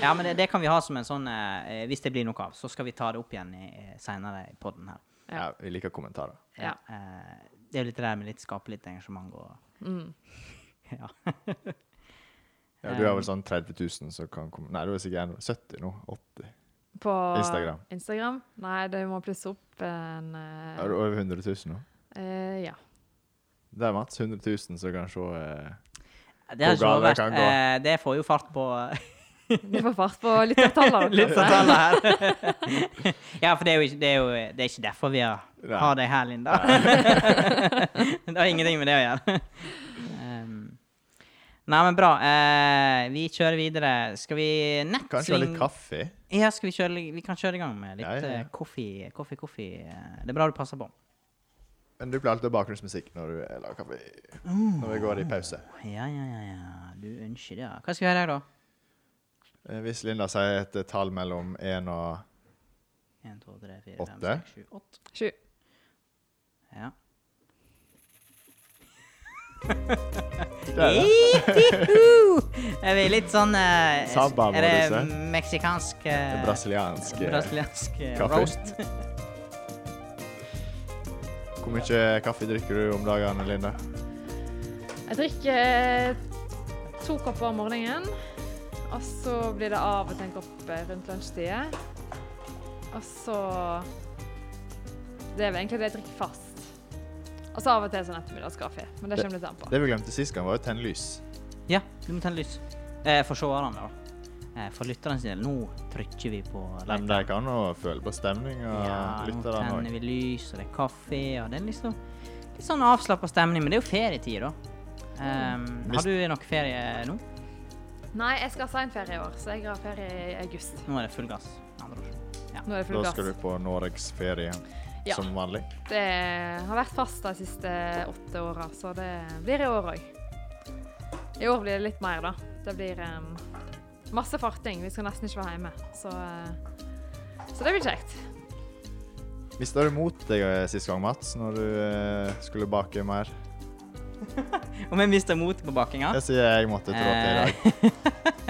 Speaker 2: Ja, men det, det kan vi ha som en sånn eh, eh, Hvis det blir noe av, så skal vi ta det opp igjen i- eh, senere i podden her.
Speaker 3: Ja.
Speaker 1: Ja, vi liker kommentarer.
Speaker 3: Ja.
Speaker 2: Eh, Det er jo litt det der med litt skape litt engasjement og
Speaker 3: Mm.
Speaker 2: Ja.
Speaker 1: Ja, du har vel sånn 30 000 som kan komme Nei, du er sikkert 70 nå. 80.
Speaker 3: På
Speaker 1: Instagram.
Speaker 3: Instagram? Nei, det må plusse opp en eh,
Speaker 1: Er du over 100 000 nå?
Speaker 3: eh, Ja.
Speaker 1: Det er Mats. 100 000 som kan se eh,
Speaker 2: Det er
Speaker 1: Hvor
Speaker 2: så
Speaker 1: gale
Speaker 2: verst.
Speaker 1: kan gå.
Speaker 2: Eh, Det får jo fart på
Speaker 3: Vi får fart på lyttertallene. kanskje.
Speaker 2: lyttertallet her. Ja, for det er jo ikke, det er jo, det er ikke derfor vi har,
Speaker 1: Nei.
Speaker 2: har deg her, Linda. det har ingenting med det å gjøre. Um, Nei, men bra. Eh, vi kjører videre. Skal vi
Speaker 1: Kanskje ha
Speaker 2: nettsving
Speaker 1: litt kaffe?
Speaker 2: Ja, skal vi, kjøre, vi kan kjøre i gang med litt
Speaker 1: Ja, ja, ja.
Speaker 2: eh, koffe, koffe, koffe. eh, Det er bra du passer på.
Speaker 1: Men du pleier alltid å ha bakgrunnsmusikk når du eh, lager kaffe.
Speaker 2: Mm.
Speaker 1: Når vi går i pause.
Speaker 2: Ja, ja, ja, ja. Du ønsker det. ja. Hva skal vi høre her, da?
Speaker 1: Eh, Hvis Linda sier et eh, tall mellom 1 og
Speaker 2: 1, 2, 3, 4, 5,
Speaker 1: Åtte.
Speaker 2: 6, 7, 8.
Speaker 3: Sju.
Speaker 2: Ja.
Speaker 1: Der, ja.
Speaker 2: Ihiho! Er vi litt sånn eh,
Speaker 1: Samba, må
Speaker 2: Er det
Speaker 1: du si.
Speaker 2: meksikansk eh,
Speaker 1: Brasiliansk eh,
Speaker 2: brasiliansk eh,
Speaker 1: kaffe.
Speaker 2: roast?
Speaker 1: Hvor mye kaffe drikker du om dagene, Linda?
Speaker 3: Jeg drikker eh, to kopper om morgenen. Og så blir det av og til en kopp eh, rundt lunsjtid. Og så Det er vel egentlig det jeg drikker fast. Og så av og til sånn ettermiddagskaffe. Men det kommer litt an på.
Speaker 1: Det vi glemte sist gang, var jo tenne lys.
Speaker 2: Ja, du må tenne lys. Eh, for seerne, da. Eh, for lytterne sin del. Nå trykker vi på
Speaker 1: Men de kan jo føle på stemninga,
Speaker 2: Ja, nå
Speaker 1: lytterne
Speaker 2: tenner
Speaker 1: òg.
Speaker 2: vi lys, og det er kaffe, og det er liksom litt sånn avslappa stemning. Men det er jo ferietid, da. Ehm,
Speaker 1: Mm. Hvis-
Speaker 2: har du nok ferie nå?
Speaker 3: Nei, jeg skal ha seinferie i år, så jeg har ferie i august.
Speaker 2: Nå er det full gass. med Andre ord.
Speaker 3: Nå er det full
Speaker 1: Da skal du
Speaker 3: gass.
Speaker 1: på norgesferie
Speaker 3: Ja.
Speaker 1: som vanlig.
Speaker 3: Det har vært fast de siste åtte åra, så det blir i år òg. I år blir det litt mer, da. Det blir em, masse farting. Vi skal nesten ikke være hjemme. Så, eh, så det blir kjekt.
Speaker 1: Mista du mot deg eh, sist gang, Mats, når du eh, skulle bake mer?
Speaker 2: Om jeg mister motet på bakinga?
Speaker 1: Jeg sier jeg måtte trå til i dag.
Speaker 2: Eh.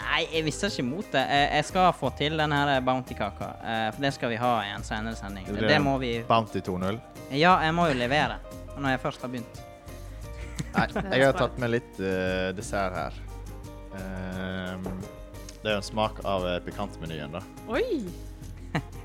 Speaker 2: Nei, jeg mister ikke motet. Eh, Jeg skal få til den her Bounty-kaka. eh, For det skal vi ha i en senere sending.
Speaker 1: Det blir
Speaker 2: Det
Speaker 1: en
Speaker 2: må vi
Speaker 1: Bounty 2.0.
Speaker 2: Ja, jeg må jo levere. Når jeg først har begynt.
Speaker 1: Nei,
Speaker 3: er
Speaker 1: jeg har
Speaker 3: sprøtt.
Speaker 1: tatt med litt eh, dessert her. Ehm, det er jo en smak av eh, pikantmenyen, da.
Speaker 3: Oi!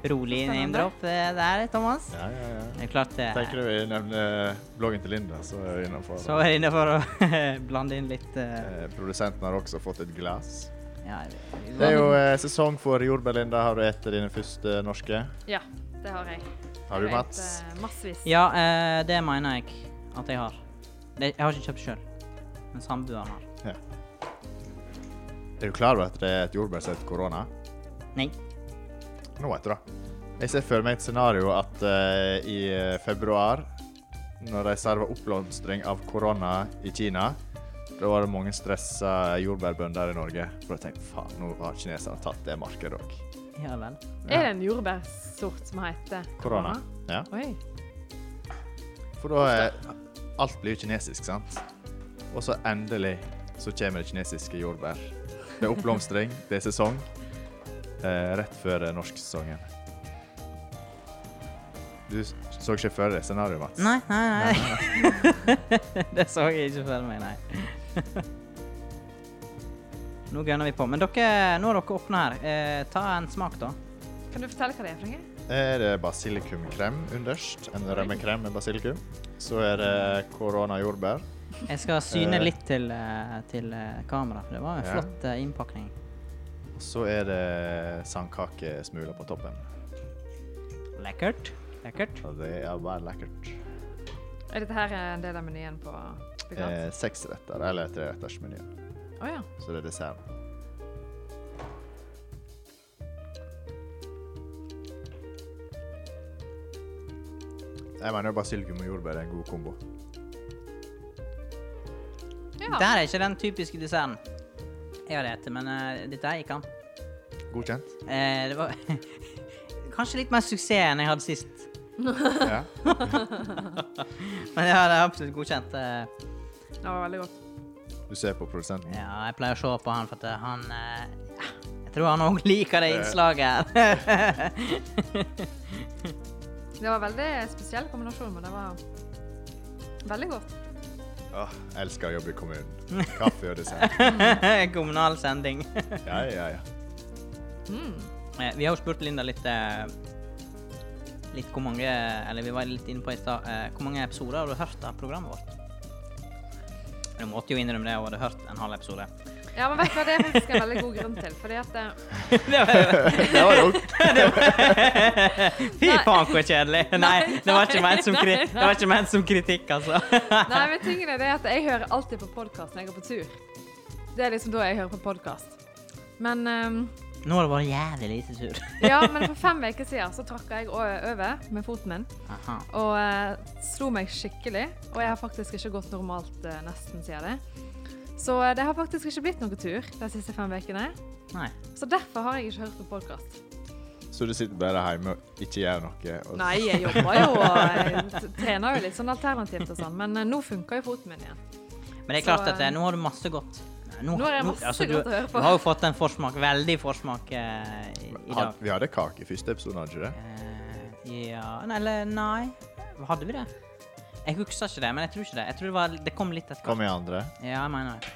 Speaker 2: Rolig
Speaker 3: Spennende.
Speaker 2: name-drop eh, der, Thomas.
Speaker 1: Ja, ja, ja.
Speaker 2: Det er klart eh, det
Speaker 1: Tenker du vi nevner bloggen til Linda, så er vi innenfor.
Speaker 2: Så er jeg inne for å blande inn litt eh,
Speaker 1: Eh, Produsenten har også fått et glass.
Speaker 2: Ja, jeg-
Speaker 1: Det er jo eh, sesong for jordbær, Linda. Har du spist dine første norske?
Speaker 3: Ja, det har jeg.
Speaker 1: Har du,
Speaker 3: Jeg
Speaker 1: Mats?
Speaker 3: vet, eh, massevis.
Speaker 2: Ja, eh, det mener jeg at jeg har. Det, jeg har ikke kjøpt sjøl, men samboeren har.
Speaker 1: Er du klar over at det er et jordbær som heter korona?
Speaker 2: Nei.
Speaker 1: Nå vet du det. Jeg ser for meg et scenario at eh, i eh, februar, når de server oppblomstring av korona i Kina, da var det mange stressa jordbærbønder i Norge. For jeg tenkte faen, nå har kineserne tatt det markedet òg.
Speaker 2: Ja vel.
Speaker 3: Er det en jordbærsort som heter
Speaker 1: Korona. Ja.
Speaker 3: Oi.
Speaker 1: For da er Alt blir jo kinesisk, sant? Og så endelig så kommer det kinesiske jordbær. Det er oppblomstring, det er sesong. Eh, rett før eh, norsksesongen. Du s- så ikke før det scenarioet, Mats?
Speaker 2: Nei, nei, nei. det så jeg ikke for meg, nei. Nå gønner vi på. Men dere, nå har dere åpna her. Eh, ta en smak, da.
Speaker 3: Kan du fortelle hva det er for noe?
Speaker 1: er det basilikumkrem underst. En rømmekrem med basilikum. Så er det koronajordbær.
Speaker 2: Jeg skal syne
Speaker 1: Eh.
Speaker 2: litt til, eh, til eh, kamera, for det var en
Speaker 1: Ja.
Speaker 2: flott eh, innpakning.
Speaker 1: Og så er det sandkakesmuler på toppen.
Speaker 2: Lekkert. Lekkert.
Speaker 1: Og det er bare lekkert.
Speaker 3: Er dette her eh, en del av menyen på Pikant?
Speaker 1: Eh, Seksretter eller trerettersmenyen.
Speaker 3: Å ja.
Speaker 1: Så det er dessert. Jeg mener basilikum og jordbær er en god kombo.
Speaker 3: ja.
Speaker 2: Der er ikke den typiske desserten jeg hadde spist, men eh, dette her gikk an.
Speaker 1: Godkjent?
Speaker 2: Eh, det var kanskje litt mer suksess enn jeg hadde sist.
Speaker 1: Ja.
Speaker 2: Men ja, det er absolutt godkjent. eh.
Speaker 3: Det var veldig godt.
Speaker 1: Du ser på produsenten.
Speaker 2: Ja, jeg pleier å se på han, for at eh, han eh, Jeg tror han òg liker det innslaget her.
Speaker 3: Det var veldig spesiell kombinasjon, men det var veldig godt.
Speaker 1: Åh, jeg elsker å jobbe i kommunen. Kaffe og dessert.
Speaker 2: Kommunal sending.
Speaker 1: Ja, ja, ja.
Speaker 3: Mm.
Speaker 2: Eh, Vi har jo spurt Linda litt eh, Litt hvor mange Eller vi var litt inne på i stad. eh, Hvor mange episoder har du hørt av programmet vårt? Du måtte jo innrømme det, og hadde hørt en halv episode.
Speaker 3: Ja, men vet du hva, det er faktisk en veldig god grunn til. Fordi at eh,
Speaker 2: Det var-
Speaker 1: Det var dumt.
Speaker 2: Fy faen, så kjedelig. Nei, det var ikke ment som, kri
Speaker 3: nei, nei.
Speaker 2: det var ikke ment som kritikk, altså.
Speaker 3: Nei, men tingen er det at jeg hører alltid på podkast når jeg går på tur. Det er liksom da jeg hører på podkast. Men ehm,
Speaker 2: Nå har det vært jævlig lite tur.
Speaker 3: Ja, men for fem uker siden så tråkka jeg o- over med foten min
Speaker 2: Aha.
Speaker 3: og eh, slo meg skikkelig. Og jeg har faktisk ikke gått normalt eh, nesten siden det. Så eh, det har faktisk ikke blitt noen tur de siste fem ukene.
Speaker 2: Nei.
Speaker 3: Så derfor har jeg ikke hørt på podkast.
Speaker 1: Så du sitter bare hjemme og ikke gjør noe? Og
Speaker 3: Nei, jeg jobber jo og jeg t- trener jo litt sånn alternativt og sånn, men eh, nå funker jo foten min igjen.
Speaker 2: Men det er klart
Speaker 3: Så,
Speaker 2: at eh,
Speaker 3: eh,
Speaker 2: nå har du masse godt. altså,
Speaker 3: Nå har jeg masse godt å høre på.
Speaker 2: Du har jo fått en forsmak, veldig forsmak, eh, i, i
Speaker 1: Had,
Speaker 2: dag.
Speaker 1: vi hadde kake i første episode, hadde vi ikke det?
Speaker 2: Eh, ja Nei, Eller nei. Hadde vi det? Jeg husker ikke det, men jeg tror ikke det. Jeg tror det, var, det kom litt etter
Speaker 1: Kom i andre.
Speaker 2: Ja, jeg mener det.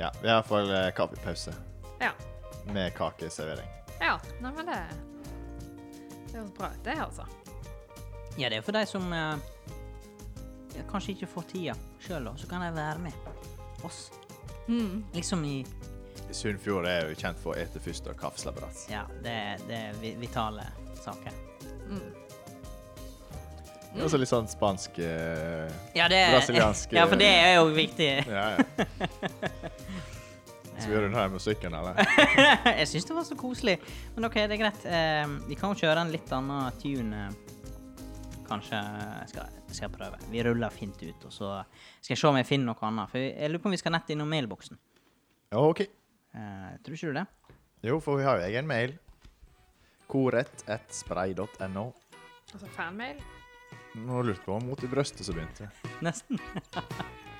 Speaker 1: Ja, vi har iallfall eh, kaffepause
Speaker 3: Ja.
Speaker 1: med kakeservering.
Speaker 3: ja. Nei, men det Det høres bra ut, det, altså.
Speaker 2: Ja, det er jo for de som eh, ja, kanskje ikke får tida sjøl, så kan de være med oss.
Speaker 3: Mm.
Speaker 2: Liksom i
Speaker 1: Sunnfjord er jo kjent for å ete først og kaffe slabberas.
Speaker 2: Ja, det, det er vi- vitale saker.
Speaker 3: Mm.
Speaker 2: Mm.
Speaker 1: Det er Også litt sånn spansk eh,
Speaker 2: Ja, det er
Speaker 1: Brasiliansk,
Speaker 2: Ja, for det er jo viktig.
Speaker 1: Ja, ja. Skal vi runde her med musikken, eller?
Speaker 2: Jeg syns det var så koselig. Men OK, det er greit. Eh, vi kan jo kjøre en litt annen tune. eh, Kanskje jeg skal, jeg skal prøve. Vi ruller fint ut, og så skal jeg se om jeg finner noe annet. For jeg lurer på om vi skal nett innom mailboksen.
Speaker 1: Ja, OK.
Speaker 2: Eh, tror ikke du det?
Speaker 1: Jo, for vi har jo egen mail. Korett.spray.no.
Speaker 3: Altså fanmail.
Speaker 1: Nå lurte jeg på om mot i brøstet som begynte.
Speaker 2: Nesten.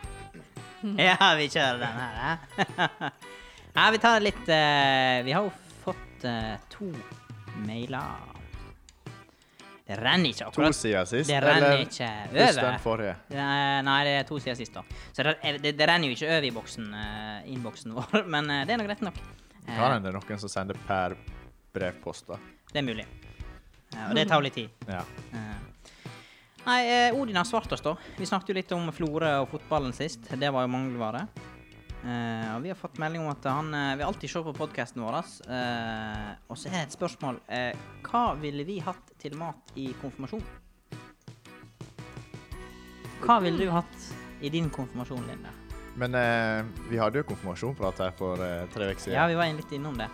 Speaker 2: ja, vi kjører den her. hæ? Nei, vi tar litt eh, Vi har jo fått eh, to mailer. Det renner ikke
Speaker 1: To
Speaker 2: akkurat.
Speaker 1: sider sist,
Speaker 2: Det renner ikke
Speaker 1: pluss
Speaker 2: over.
Speaker 1: den forrige.
Speaker 2: Eh, Nei, det er to siden sist, da. Så det, er- det, det renner jo ikke over i boksen, eh, innboksen vår, men eh, det er nå greit nok. Eh,
Speaker 1: Kan hende det er noen som sender per brevpost, da.
Speaker 2: det er mulig. Eh, og det tar jo litt tid.
Speaker 1: Ja.
Speaker 2: Eh, Nei, eh, Odin har svart oss, da. Vi snakket jo litt om Florø og fotballen sist. Det var jo mangelvare. Eh, og vi har fått melding om at han eh, vil alltid se på podkasten vår. Eh, og så er et spørsmål eh, Hva ville vi hatt til mat i konfirmasjon? Hva ville du hatt i din konfirmasjon, Linda?
Speaker 1: Men eh, vi hadde jo konfirmasjonprat her for eh, tre uker
Speaker 2: Ja,
Speaker 1: siden.
Speaker 2: vi var inn litt innom det.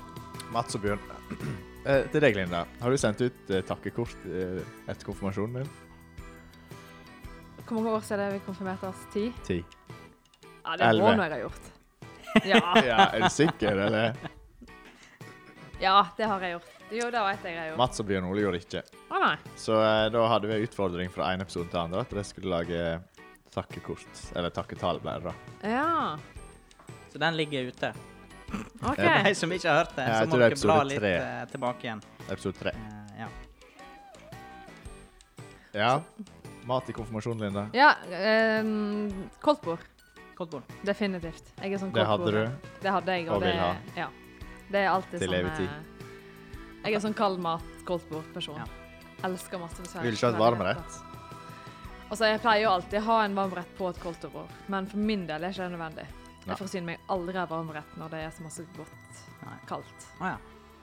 Speaker 1: Mats og Bjørn. eh, til deg, Linda. Har du sendt ut eh, takkekort eh, etter konfirmasjonen din?
Speaker 3: Hvor mange år siden er det vi konfirmerte oss? Ti?
Speaker 1: Ti.
Speaker 3: Ja, det må
Speaker 1: Elleve.
Speaker 3: nå jeg ha gjort. Ja,
Speaker 1: Ja, er du sikker, eller?
Speaker 3: ja, det har jeg gjort. Jo, det vet jeg jeg har gjort.
Speaker 1: Mats og Bjørn Ole gjorde ikke.
Speaker 3: Å nei.
Speaker 1: Så eh, da hadde vi en utfordring fra en episode til andre, at de skulle lage takkekort. Eller takketall, ble det da.
Speaker 3: Ja,
Speaker 2: Så den ligger ute.
Speaker 3: OK.
Speaker 1: Ja,
Speaker 2: De som ikke har hørt det,
Speaker 1: Ja,
Speaker 2: så
Speaker 1: jeg
Speaker 2: må
Speaker 1: tror det
Speaker 2: dere bla
Speaker 1: er episode
Speaker 2: litt
Speaker 1: tre.
Speaker 2: eh, tilbake igjen.
Speaker 1: Episode tre.
Speaker 2: Eh, ja.
Speaker 1: Ja. Mat i konfirmasjonen, Linda.
Speaker 3: Ja, um, koldtbord.
Speaker 2: Koldtbord.
Speaker 3: Definitivt. Jeg er sånn
Speaker 1: Det hadde
Speaker 3: koldtbord.
Speaker 1: du.
Speaker 3: Det hadde jeg, og,
Speaker 1: og vil
Speaker 3: det,
Speaker 1: ha.
Speaker 3: ja. det er alltid
Speaker 1: Til
Speaker 3: sånn
Speaker 1: evig tid.
Speaker 3: eh, Jeg er sånn kald mat, koldtbord-person.
Speaker 2: Ja.
Speaker 3: Elsker masse besvær.
Speaker 1: Vil ikke ha et varmrett.
Speaker 3: Og så Altså, Jeg pleier jo alltid å ha en varmrett på et koldtbord, men for min del er ikke det nødvendig.
Speaker 1: Nei.
Speaker 3: Jeg forsyner meg aldri av varmrett når det er så masse godt
Speaker 2: Nei.
Speaker 3: kaldt.
Speaker 2: Å ja.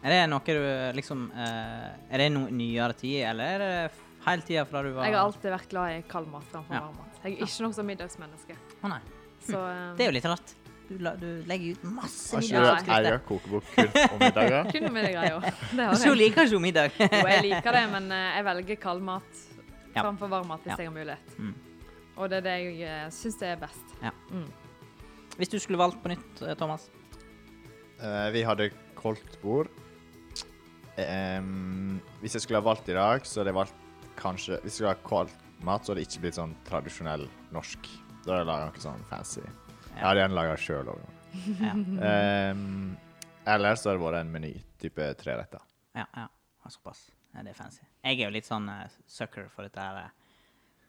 Speaker 2: Er det noe du liksom eh, Er det no nyere tid, eller er det f- hele tida fra du var
Speaker 3: Jeg har alltid vært glad i kald mat framfor
Speaker 2: Ja.
Speaker 3: varm mat. Jeg er ikke noe som middagsmenneske.
Speaker 2: Å nei.
Speaker 3: Så eh,
Speaker 2: Det er jo litt rart. Du, la, du legger ut masse
Speaker 1: Har ikke
Speaker 3: Ja, jeg
Speaker 1: du ei
Speaker 2: middagsoppskrifter.
Speaker 1: kokebok kun om middager?
Speaker 3: eh, kun med det greia. Det
Speaker 2: Og
Speaker 3: har
Speaker 2: så
Speaker 3: jeg.
Speaker 2: liker ikke hun middag.
Speaker 3: Jo, jeg liker det, men eh, jeg velger kald mat
Speaker 2: Ja.
Speaker 3: framfor varm mat hvis
Speaker 2: Ja.
Speaker 3: jeg har mulighet.
Speaker 2: Mm.
Speaker 3: Og det er det jeg syns er best.
Speaker 2: Ja.
Speaker 3: Mm.
Speaker 2: Hvis du skulle valgt på nytt, eh, Thomas.
Speaker 1: Eh, vi hadde koldt bord. Ehm, hvis jeg skulle ha valgt i dag, så hadde jeg valgt kanskje Hvis jeg skulle ha koldt mat, så hadde det ikke blitt sånn tradisjonell norsk. Da hadde jeg laga noe sånn fancy. Jeg hadde gjerne laga sjøl òg.
Speaker 2: Ja,
Speaker 1: Eller så hadde det vært en meny, type tre retter.
Speaker 2: ja. ja. Ja, Såpass. Ja, det er fancy. Jeg er jo litt sånn eh, sucker for dette her eh,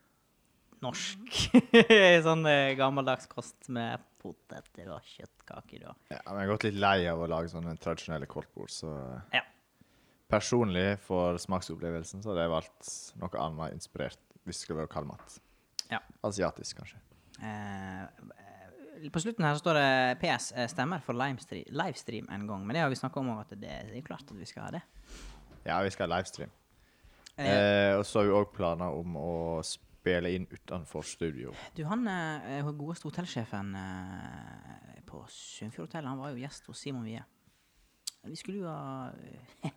Speaker 2: norsk Sånn eh, gammeldags kost med poteter og kjøttkaker og
Speaker 1: Ja, men jeg har gått litt lei av å lage sånne tradisjonelle koldtbord, så
Speaker 2: Ja.
Speaker 1: Personlig, for smaksopplevelsen, så hadde jeg valgt noe annet inspirert hvis det skulle være kald mat.
Speaker 2: Ja.
Speaker 1: Asiatisk, kanskje.
Speaker 2: Eh, eh, på slutten her så står det PS eh, stemmer for livestre- livestream en gang. Men det har vi snakka om òg, at det det er klart at vi skal ha det.
Speaker 1: Ja, vi skal ha livestream.
Speaker 2: Eh,
Speaker 1: Eh, og så har vi òg planer om å spille inn utenfor studio.
Speaker 2: Du, han eh, eh, godeste hotellsjefen eh, på Sunnfjordhotellet, han var jo gjest hos Simon Wie. Vi skulle jo ha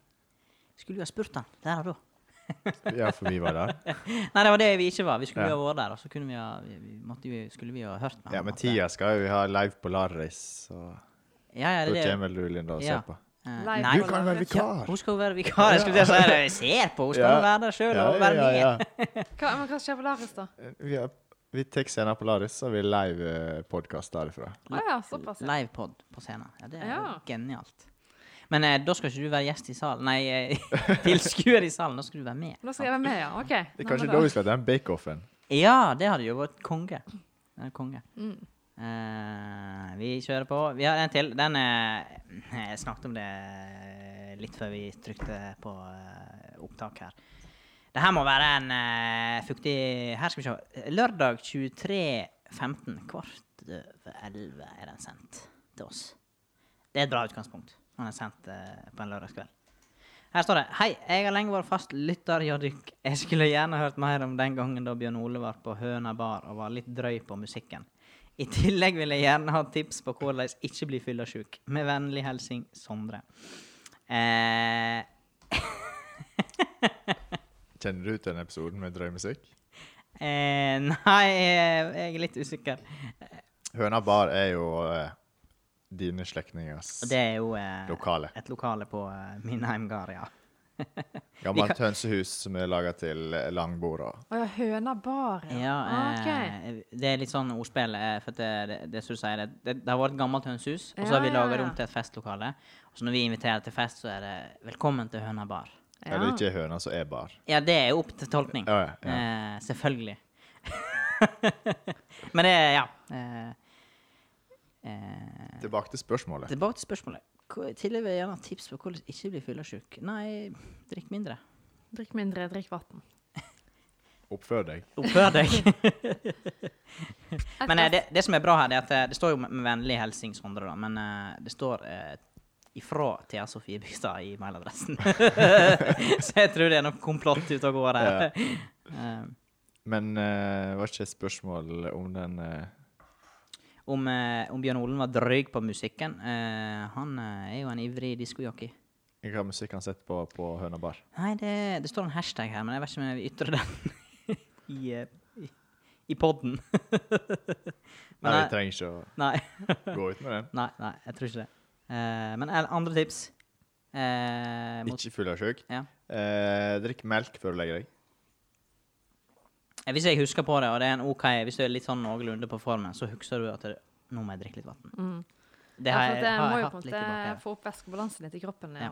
Speaker 2: Skulle jo ha spurt han der og da.
Speaker 1: Ja, for vi var der.
Speaker 2: Nei, det var det vi ikke var. Vi skulle
Speaker 1: Ja.
Speaker 2: jo ha vært der, og så kunne vi ha, vi, vi måtte jo, skulle vi ha hørt med
Speaker 1: Ja,
Speaker 2: han
Speaker 1: men
Speaker 2: at-
Speaker 1: tida skal jo vi ha live på Larris, så
Speaker 2: Ja, ja,
Speaker 1: da
Speaker 2: det, er
Speaker 1: kommer vel du, Linda, og
Speaker 2: Ja.
Speaker 1: ser på.
Speaker 2: det. Eh,
Speaker 3: Live
Speaker 2: nei,
Speaker 3: på
Speaker 1: Du kan være
Speaker 3: Larris.
Speaker 1: vikar!
Speaker 2: hun skal jo være vikar. Jeg skulle til å si det. Jeg ser på, hun skal jo være der sjøl
Speaker 1: Ja,
Speaker 2: og være
Speaker 1: ja,
Speaker 2: med.
Speaker 1: ja.
Speaker 3: Hva, men hva skjer på Laris, da?
Speaker 1: Vi, har- vi tar scener på Larris, så har vi live-podkast derifra.
Speaker 3: Å ja, såpass. ja.
Speaker 2: Livepod på scenen. Ja, det er jo
Speaker 3: Ja.
Speaker 2: genialt. Men eh, da skal ikke du være gjest i salen, nei, eh, tilskuer i salen. Da skal du være med.
Speaker 3: Nå skal jeg være med, ja. OK.
Speaker 1: Det er
Speaker 3: Nei,
Speaker 1: kanskje
Speaker 3: men
Speaker 1: da vi skal ha den bake-offen.
Speaker 2: Ja, det hadde jo vært konge. Det er konge.
Speaker 3: Mm.
Speaker 2: Eh, vi kjører på. Vi har en til. Den er Jeg snakket om det litt før vi trykte på eh, opptak her. Det her må være en eh, fuktig Her skal vi se. Lørdag 23.15, kvart over 11 er den sendt til oss. Det er et bra utgangspunkt når den er sendt eh, på en lørdagskveld. Her står det Hei, jeg har lenge vært fast lytter hos dykk. Jeg skulle gjerne hørt mer om den gangen da Bjørn Ole var på Høna bar og var litt drøy på musikken. I tillegg vil jeg gjerne ha tips på hvordan ikke bli fyllesyk. Med vennlig hilsen Sondre. Eh,
Speaker 1: Kjenner du til den episoden med drøy musikk?
Speaker 2: eh, nei, eh, jeg er litt usikker.
Speaker 1: Høna bar er jo eh, dine slektningers
Speaker 2: Og det er jo eh,
Speaker 1: lokale.
Speaker 2: et lokale på eh, min heimgard, ja.
Speaker 1: Gammelt
Speaker 2: vi
Speaker 1: hønsehus som er laga til eh, langborda.
Speaker 3: Å ja, Høna bar, ja.
Speaker 2: Ja,
Speaker 3: Ah, OK.
Speaker 2: eh, Det er litt sånn ordspill. eh, For at det, det, det, som du sier, det, det, det har vært et gammelt hønsehus, og så har
Speaker 3: Ja,
Speaker 2: vi
Speaker 3: ja,
Speaker 2: laga det
Speaker 3: ja.
Speaker 2: om til et festlokale. Og så når vi inviterer til fest, så er det 'velkommen til Høna bar'.
Speaker 1: Ja. Eller ikke høna som er bar.
Speaker 2: Ja, det er jo opp til tolkning.
Speaker 1: Ja, ja, ja.
Speaker 2: Eh, selvfølgelig. Men det er Ja. Eh, eh,
Speaker 1: Tilbake til spørsmålet.
Speaker 2: tilbake til spørsmålet. Hva- Tillegg vil jeg gjerne ha tips på hvordan ikke bli fyllesyk. Nei, drikk mindre.
Speaker 3: Drikk mindre, drikk vann.
Speaker 1: Oppfør deg.
Speaker 2: Oppfør deg.
Speaker 3: Et
Speaker 2: Men eh,
Speaker 3: glass-
Speaker 2: det, det som er bra her, det er at eh, det står jo med- med vennlig hilsing Sondre, da, men eh, det står eh, ifra Thea Sofie Bygstad i mailadressen. Så jeg tror det er noe komplott ute og går der. Eh,
Speaker 1: Men eh, var ikke spørsmål om den eh,
Speaker 2: om, eh, om Bjørn Olen var drøy på musikken. Eh, han eh, er jo en ivrig diskojockey.
Speaker 1: Hva musikk han setter på på høna bar?
Speaker 2: Nei, det, det står en hashtag her, men jeg vet ikke om jeg vil ytre den i, eh, i, i podden.
Speaker 1: Nei,
Speaker 2: Men
Speaker 1: vi
Speaker 2: jeg-
Speaker 1: trenger ikke
Speaker 2: nei,
Speaker 1: å gå ut med den.
Speaker 2: nei, nei, jeg tror ikke det. Eh, men el- andre tips? Eh, mot,
Speaker 1: Ikke full av sjuk.
Speaker 2: Ja.
Speaker 1: Eh, drikk melk før du legger deg.
Speaker 2: Eh, hvis jeg husker på det, og det er en OK Hvis du er litt sånn noenlunde på formen, så husker du at det, nå må jeg drikke litt vann.
Speaker 3: Mm.
Speaker 2: Det
Speaker 3: ja,
Speaker 2: har
Speaker 3: for
Speaker 2: jeg,
Speaker 3: det
Speaker 2: har
Speaker 3: må
Speaker 2: jeg
Speaker 3: jo på
Speaker 2: hatt
Speaker 3: en
Speaker 2: litt tilbake.
Speaker 3: måte
Speaker 2: her.
Speaker 3: få opp væskebalansen litt i kroppen.
Speaker 2: Ja.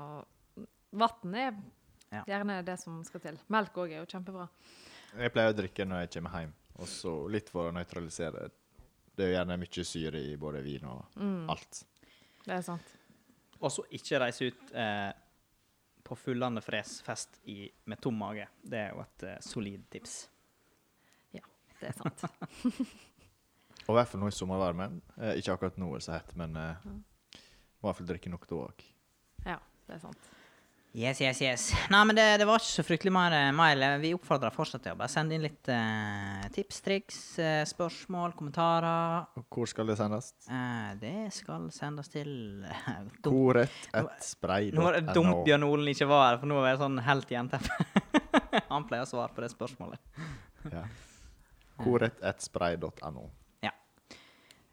Speaker 3: Og vann er
Speaker 2: Ja.
Speaker 3: gjerne det som skal til. Melk òg er jo kjempebra.
Speaker 1: Jeg pleier å drikke når jeg kommer hjem, og så litt for å nøytralisere. Det er jo gjerne mye syre i både vin og
Speaker 3: Mm,
Speaker 1: alt.
Speaker 3: det er sant.
Speaker 2: Og så ikke reise ut eh, på fullende fresfest i, med tom mage. Det er jo et eh, solid tips.
Speaker 3: Det er sant.
Speaker 1: Og i hvert fall nå i sommervarmen. Eh, ikke akkurat nå er det så hett, men eh, må i hvert fall drikke nok da òg.
Speaker 3: Ja, det er sant.
Speaker 2: Yes, yes, yes. Nei, men det, det var ikke så fryktelig mer eh, mail. Vi oppfordrer fortsatt til å bare sende inn litt eh, tips, triks, eh, spørsmål, kommentarer.
Speaker 1: Og Hvor skal det sendes?
Speaker 2: Eh, det skal sendes til eh, Dumt. Nå var det dumt
Speaker 1: Koret1spray.no.
Speaker 2: Bjørn Olen ikke var her, for nå er jeg sånn helt i jernteppet. Han pleier å svare på det spørsmålet.
Speaker 1: Ja. Koret1spray.no.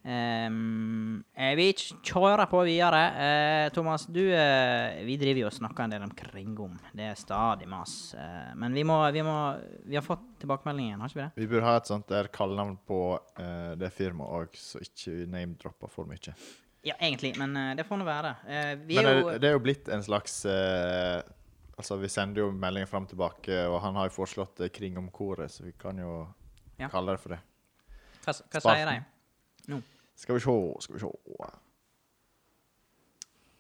Speaker 2: Ehm, eh, vi k- kjører på videre. Eh, Thomas, du, eh, vi driver jo og snakker en del om Kringom. Det er stadig mas. Eh, men vi må, vi må Vi har fått tilbakemeldingen, har ikke vi det?
Speaker 1: Vi burde ha et sånt der kallenavn på eh, det firmaet òg, så ikke vi name-dropper for mye.
Speaker 2: Ja, egentlig, men eh, det får nå være. Eh, vi
Speaker 1: Men
Speaker 2: er
Speaker 1: det,
Speaker 2: jo
Speaker 1: det er jo blitt en slags eh, Altså, vi sender jo meldinger fram og tilbake, og han har jo foreslått eh, Kring om koret, så vi kan jo
Speaker 2: Ja.
Speaker 1: kalle det for det.
Speaker 2: Hva, hva
Speaker 1: Spalten.
Speaker 2: sier de?
Speaker 1: Skal vi sjå, skal vi sjå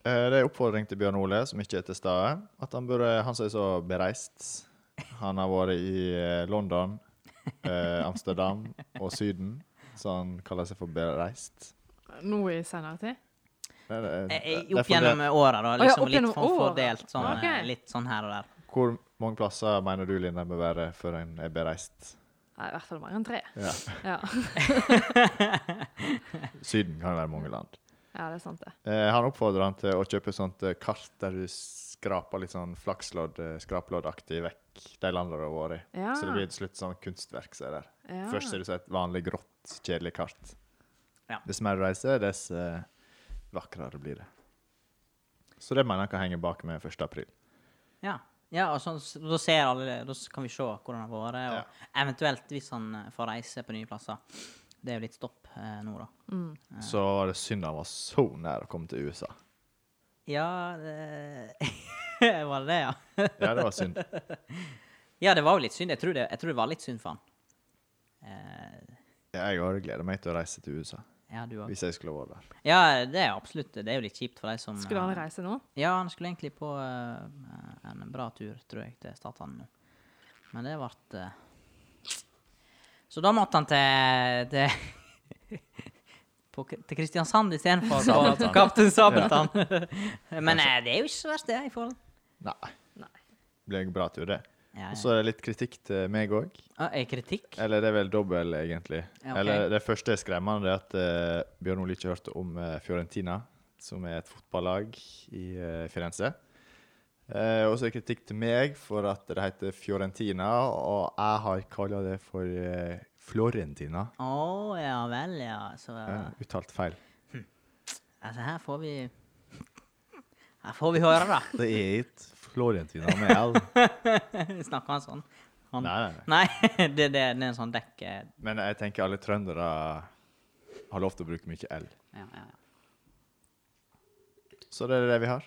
Speaker 1: Eh, Det er oppfordring til Bjørn Ole, som ikke er til stede, at han burde Han som er så bereist. Han har vært i eh, London, eh, Amsterdam og Syden, så han kaller seg for bereist.
Speaker 3: Nå i senere tid?
Speaker 1: Det er, det-
Speaker 2: Eh, eh,
Speaker 1: det er
Speaker 2: Opp
Speaker 1: fordi-
Speaker 2: gjennom åra, da.
Speaker 3: Å ja,
Speaker 2: Liksom
Speaker 3: opp
Speaker 2: litt
Speaker 3: gjennom
Speaker 2: for
Speaker 3: åra.
Speaker 2: fordelt. Sånn,
Speaker 3: Ja, ok.
Speaker 2: eh, Litt sånn her og der.
Speaker 1: Hvor mange plasser mener du Linda bør være før en er bereist?
Speaker 3: Nei, i hvert fall mer enn tre.
Speaker 1: Ja.
Speaker 3: Ja,
Speaker 1: Syden kan være mange land.
Speaker 3: ja det er sant, det.
Speaker 1: Eh, han oppfordrer han til å kjøpe sånt eh, kart der du skraper litt sånn flakslodd, eh, skraploddaktig vekk de landene du har vært i.
Speaker 3: Ja.
Speaker 1: Så det blir til slutt sånn kunstverk. Så der.
Speaker 3: Ja.
Speaker 1: Først ser det ut som et vanlig grått, kjedelig kart.
Speaker 2: Ja.
Speaker 1: Dess mer du reiser, dess eh, vakrere blir det. Så det mener jeg kan henge bak med 1. april.
Speaker 2: Ja. ja og sånn, s- da, ser alle, da s- kan vi se hvordan det har vært, og eventuelt hvis han eh, får reise på nye plasser. Det er jo litt stopp eh, nå, da.
Speaker 3: Mm.
Speaker 1: Så var det synd han var så nær å komme til USA.
Speaker 2: Ja det... Var det det, ja?
Speaker 1: Ja, det var synd.
Speaker 2: Ja, det var jo litt synd. Jeg tror det, jeg tror det var litt synd for han. Eh,
Speaker 1: Jeg òg gleder meg til å reise til USA,
Speaker 2: ja, du òg.
Speaker 1: hvis jeg skulle vært der.
Speaker 2: Ja, det er absolutt Det er jo litt kjipt for de som
Speaker 3: Skulle han
Speaker 2: eh,
Speaker 3: reise nå?
Speaker 2: Ja, han skulle egentlig på eh, en bra tur, tror jeg, til Statene nå. Men det ble eh, Så da måtte han til til, på, til Kristiansand istedenfor på
Speaker 1: Sabeltann.
Speaker 2: Kaptein Sabeltann. Men eh, det er jo ikke så verst, det, i forhold.
Speaker 1: Nei. Det blir en bra tur, det.
Speaker 2: Ja,
Speaker 1: Og
Speaker 2: ja.
Speaker 1: så er det litt kritikk til meg òg.
Speaker 2: Ah, er kritikk?
Speaker 1: Eller det er vel dobbel, egentlig.
Speaker 2: Ja, ok.
Speaker 1: Eller Det første er skremmende, det er at eh, Bjørn Ole ikke hørte om eh, Fiorentina, som er et fotballag i eh, Firenze. Eh, og så er det kritikk til meg for at det heter Fiorentina, og jeg har kalla det for eh, Florentina.
Speaker 2: Å ja vel, ja. Så
Speaker 1: Eh, uttalt feil.
Speaker 2: altså, her får vi Her får vi høre, da.
Speaker 1: Det er ikke Florentina med L.
Speaker 2: Snakker han sånn?
Speaker 1: Nei,
Speaker 2: Han,
Speaker 1: nei, nei.
Speaker 2: nei, det, det, det er en sånn dekk... eh,
Speaker 1: Men jeg tenker alle trøndere har lov til å bruke mye L.
Speaker 2: Ja, ja, ja.
Speaker 1: Så det er det vi har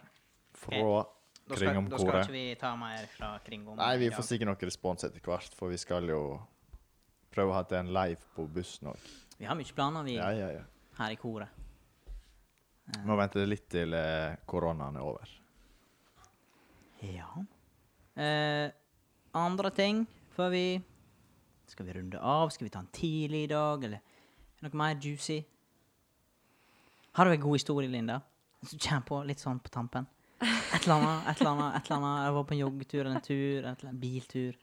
Speaker 1: fra
Speaker 2: Da skal, da skal
Speaker 1: Kringomkoret.
Speaker 2: ikke vi ta mer fra Kringom.
Speaker 1: Nei, vi
Speaker 2: i dag.
Speaker 1: får sikkert noe respons etter hvert, for vi skal jo prøve å ha til en live på bussen òg.
Speaker 2: Vi har mye planer vi,
Speaker 1: Ja, ja, ja.
Speaker 2: her i koret.
Speaker 1: Må vente litt til eh, koronaen er over.
Speaker 2: Ja. Eh, andre ting før vi Skal vi runde av? Skal vi ta en tidlig i dag, eller er det noe mer juicy? Har du en god historie, Linda? Som du kommer på litt sånn på tampen? Et eller annet, et eller annet. et eller annet. Jeg var på en joggetur eller en tur, et eller annet, biltur.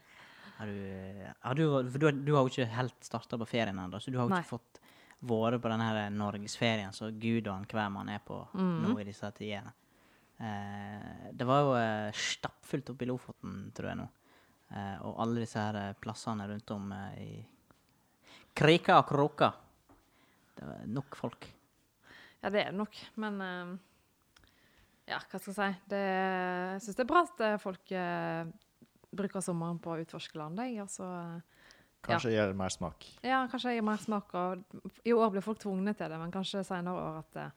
Speaker 2: Har du, eh, har du, for du, har- du har jo ikke helt starta på ferien ennå, så du har jo
Speaker 3: Nei.
Speaker 2: ikke fått vært på den her norgesferien som Gud og enhver man er på nå i disse tidene. Eh, det var jo eh, stappfullt oppe i Lofoten, tror jeg nå. Eh, og alle disse her eh, plassene rundt om eh, i Krika og Kråka. Det var nok folk.
Speaker 3: Ja, det er det nok, men eh, Ja, hva skal jeg si? Det, jeg syns det er bra at eh, folk eh, bruker sommeren på å utforske landet. jeg, Altså,
Speaker 1: Kanskje gir det mer smak.
Speaker 3: ja, kanskje jeg gir mer smak. Og I år blir folk tvungne til det, men kanskje senere år at eh,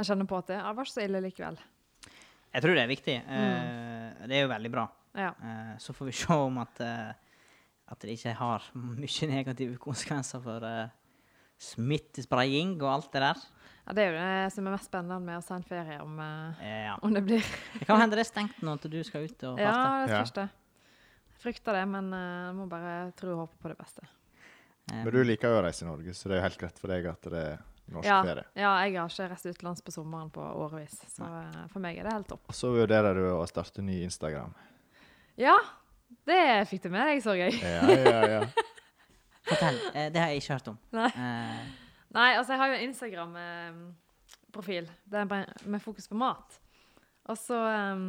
Speaker 3: jeg kjenner på at det ja, det var ikke så ille likevel.
Speaker 2: Jeg tror det er viktig. Eh, det er jo veldig bra.
Speaker 3: Ja.
Speaker 2: Eh, så får vi se om at, eh, at det ikke har mye negative konsekvenser for eh, smittespredning og alt det der.
Speaker 3: ja, Det er jo det som er mest spennende med å ta en ferie, om, eh,
Speaker 2: Eh, ja.
Speaker 3: om det blir
Speaker 2: Det kan hende det er stengt nå til du skal ut og farte.
Speaker 3: Ja, det
Speaker 1: Ja.
Speaker 3: spørs det. Jeg frykter det, men eh, jeg må bare tro og håpe på det beste.
Speaker 2: Eh,
Speaker 1: Men du liker jo å reise i Norge, så det er jo helt greit for deg at det er norsk
Speaker 3: Ja,
Speaker 1: ferie.
Speaker 3: ja, jeg har ikke reist utenlands på sommeren på årevis, så eh, for meg er det helt topp.
Speaker 1: Og så vurderer du å starte ny Instagram.
Speaker 3: Ja, det fikk du med deg, så jeg.
Speaker 1: Ja, ja, ja.
Speaker 2: Fortell. Eh, det har jeg ikke hørt om.
Speaker 3: Nei.
Speaker 2: Eh,
Speaker 3: Nei, altså jeg har jo en Instagram-profil med fokus på mat. Og så em,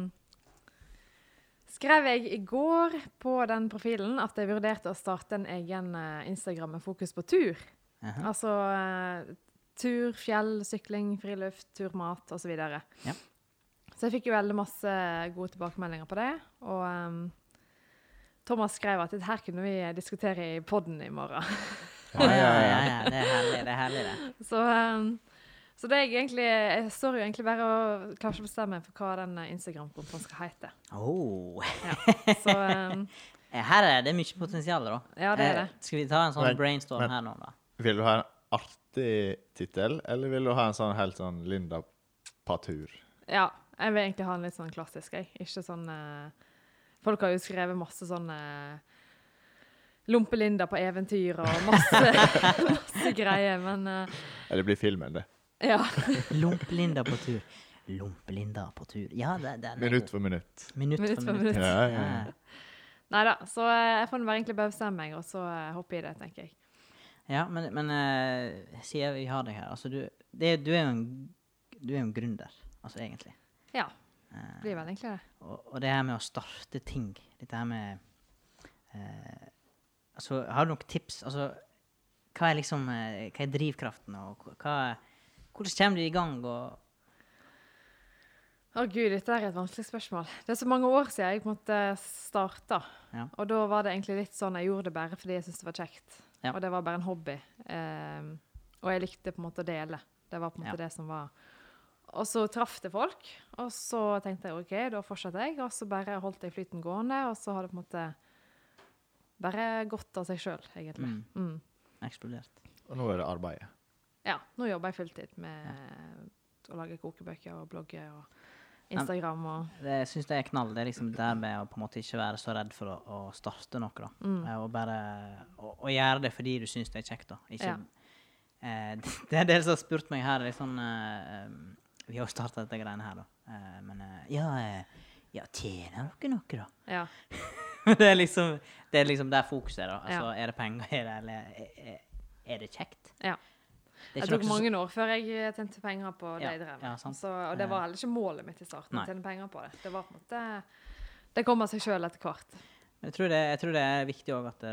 Speaker 3: skrev jeg i går på den profilen at jeg vurderte å starte en egen eh, Instagram med fokus på tur.
Speaker 2: aha.
Speaker 3: Altså eh, tur, fjell, sykling, friluft, tur, mat osv.
Speaker 2: Ja.
Speaker 3: Så jeg fikk jo veldig masse gode tilbakemeldinger på det. Og em, Thomas skrev at dette her kunne vi diskutere i poden i morgen.
Speaker 2: Ja, ja, ja, ja. Det er herlig, det. er herlig det.
Speaker 3: Så, um, så det er jeg egentlig Jeg står jo egentlig bare og klarer ikke å bestemme meg for hva den eh, Instagram-kontoen skal hete.
Speaker 2: Oh.
Speaker 3: Så um,
Speaker 2: Eh, Her er det mye potensial, da.
Speaker 3: Ja, det er
Speaker 2: Eh,
Speaker 3: det.
Speaker 2: Skal vi ta en sånn
Speaker 1: Men-
Speaker 2: brainstorm
Speaker 1: men-
Speaker 2: her nå, da?
Speaker 1: Vil du ha en artig tittel, eller vil du ha en sånn helt sånn Linda på tur?
Speaker 3: ja. Jeg vil egentlig ha en litt sånn klassisk, jeg. Ikke sånn eh, Folk har jo skrevet masse sånn eh, Lompelinda på eventyr og masse, masse greier, men eh,
Speaker 1: Eller blir filmen det?
Speaker 3: Ja.
Speaker 2: Lompelinda på tur. Lompelinda på tur. Ja, det, det, det er
Speaker 1: Minutt
Speaker 2: god.
Speaker 1: for minutt.
Speaker 2: Minutt for
Speaker 3: Minutt for
Speaker 2: minutt. Eh,
Speaker 1: Ja,
Speaker 3: minutt.
Speaker 1: ja, ja.
Speaker 2: Ja,
Speaker 3: Nei da, så eh, jeg får nå bare egentlig bare bestemme meg, og så eh, hoppe i det, tenker jeg.
Speaker 2: ja men, men eh, siden vi har deg her altså, du, det, du er jo en, du er jo en gründer, altså egentlig.
Speaker 3: Ja.
Speaker 2: Eh,
Speaker 3: Blir vel egentlig det.
Speaker 2: og, og det her med å starte ting, dette her med eh, Altså, har du noen tips? Altså, hva er liksom eh, Hva er drivkraften, og hva Hvordan kommer du i gang, og
Speaker 3: Å gud, dette er et vanskelig spørsmål. Det er så mange år siden jeg på en måte starta.
Speaker 2: Ja.
Speaker 3: Og da var det egentlig litt sånn jeg gjorde det bare fordi jeg syntes det var kjekt.
Speaker 2: Ja.
Speaker 3: Og det var bare en hobby. Ehm, og jeg likte på en måte å dele. Det var på en måte det som var Og så traff det folk, og så tenkte jeg OK, da fortsetter jeg. Og så bare holdt jeg flyten gående, og så har det på en måte bare gått av seg sjøl, egentlig.
Speaker 2: Mm.
Speaker 3: Mm.
Speaker 2: eksplodert?
Speaker 1: Og nå er det arbeidet.
Speaker 3: Ja, nå jobber jeg fulltid med å lage kokebøker og blogge og Instagram og
Speaker 2: Det jeg synes det er knall. Det er liksom det med å på en måte ikke være så redd for å, å starte noe. da. Eh, Og bare og, og gjøre det fordi du syns det er kjekt. da. Ikke,
Speaker 3: Ja.
Speaker 2: eh, det er en del som har spurt meg her litt sånn eh, um, Vi har jo starta dette greiene her, da. Eh, men eh, ja, eh, ja, tjener dere noe, da?
Speaker 3: Ja.
Speaker 2: det, er liksom, det er liksom der fokuset er. da. Altså,
Speaker 3: Ja.
Speaker 2: Er det penger, er det, eller er- er, er det kjekt?
Speaker 3: ja.
Speaker 2: Det er ikke
Speaker 3: Det tok
Speaker 2: noe som-
Speaker 3: mange år før jeg eh, tjente penger på det
Speaker 2: Ja,
Speaker 3: jeg drev
Speaker 2: ja,
Speaker 3: med.
Speaker 2: sant. Eh.
Speaker 3: så, og det var heller ikke målet mitt i starten.
Speaker 2: Nei.
Speaker 3: å tjene penger på Det Det var på en måte Det kom av seg sjøl etter hvert.
Speaker 2: jeg, tror det, jeg tror det er viktig òg at det,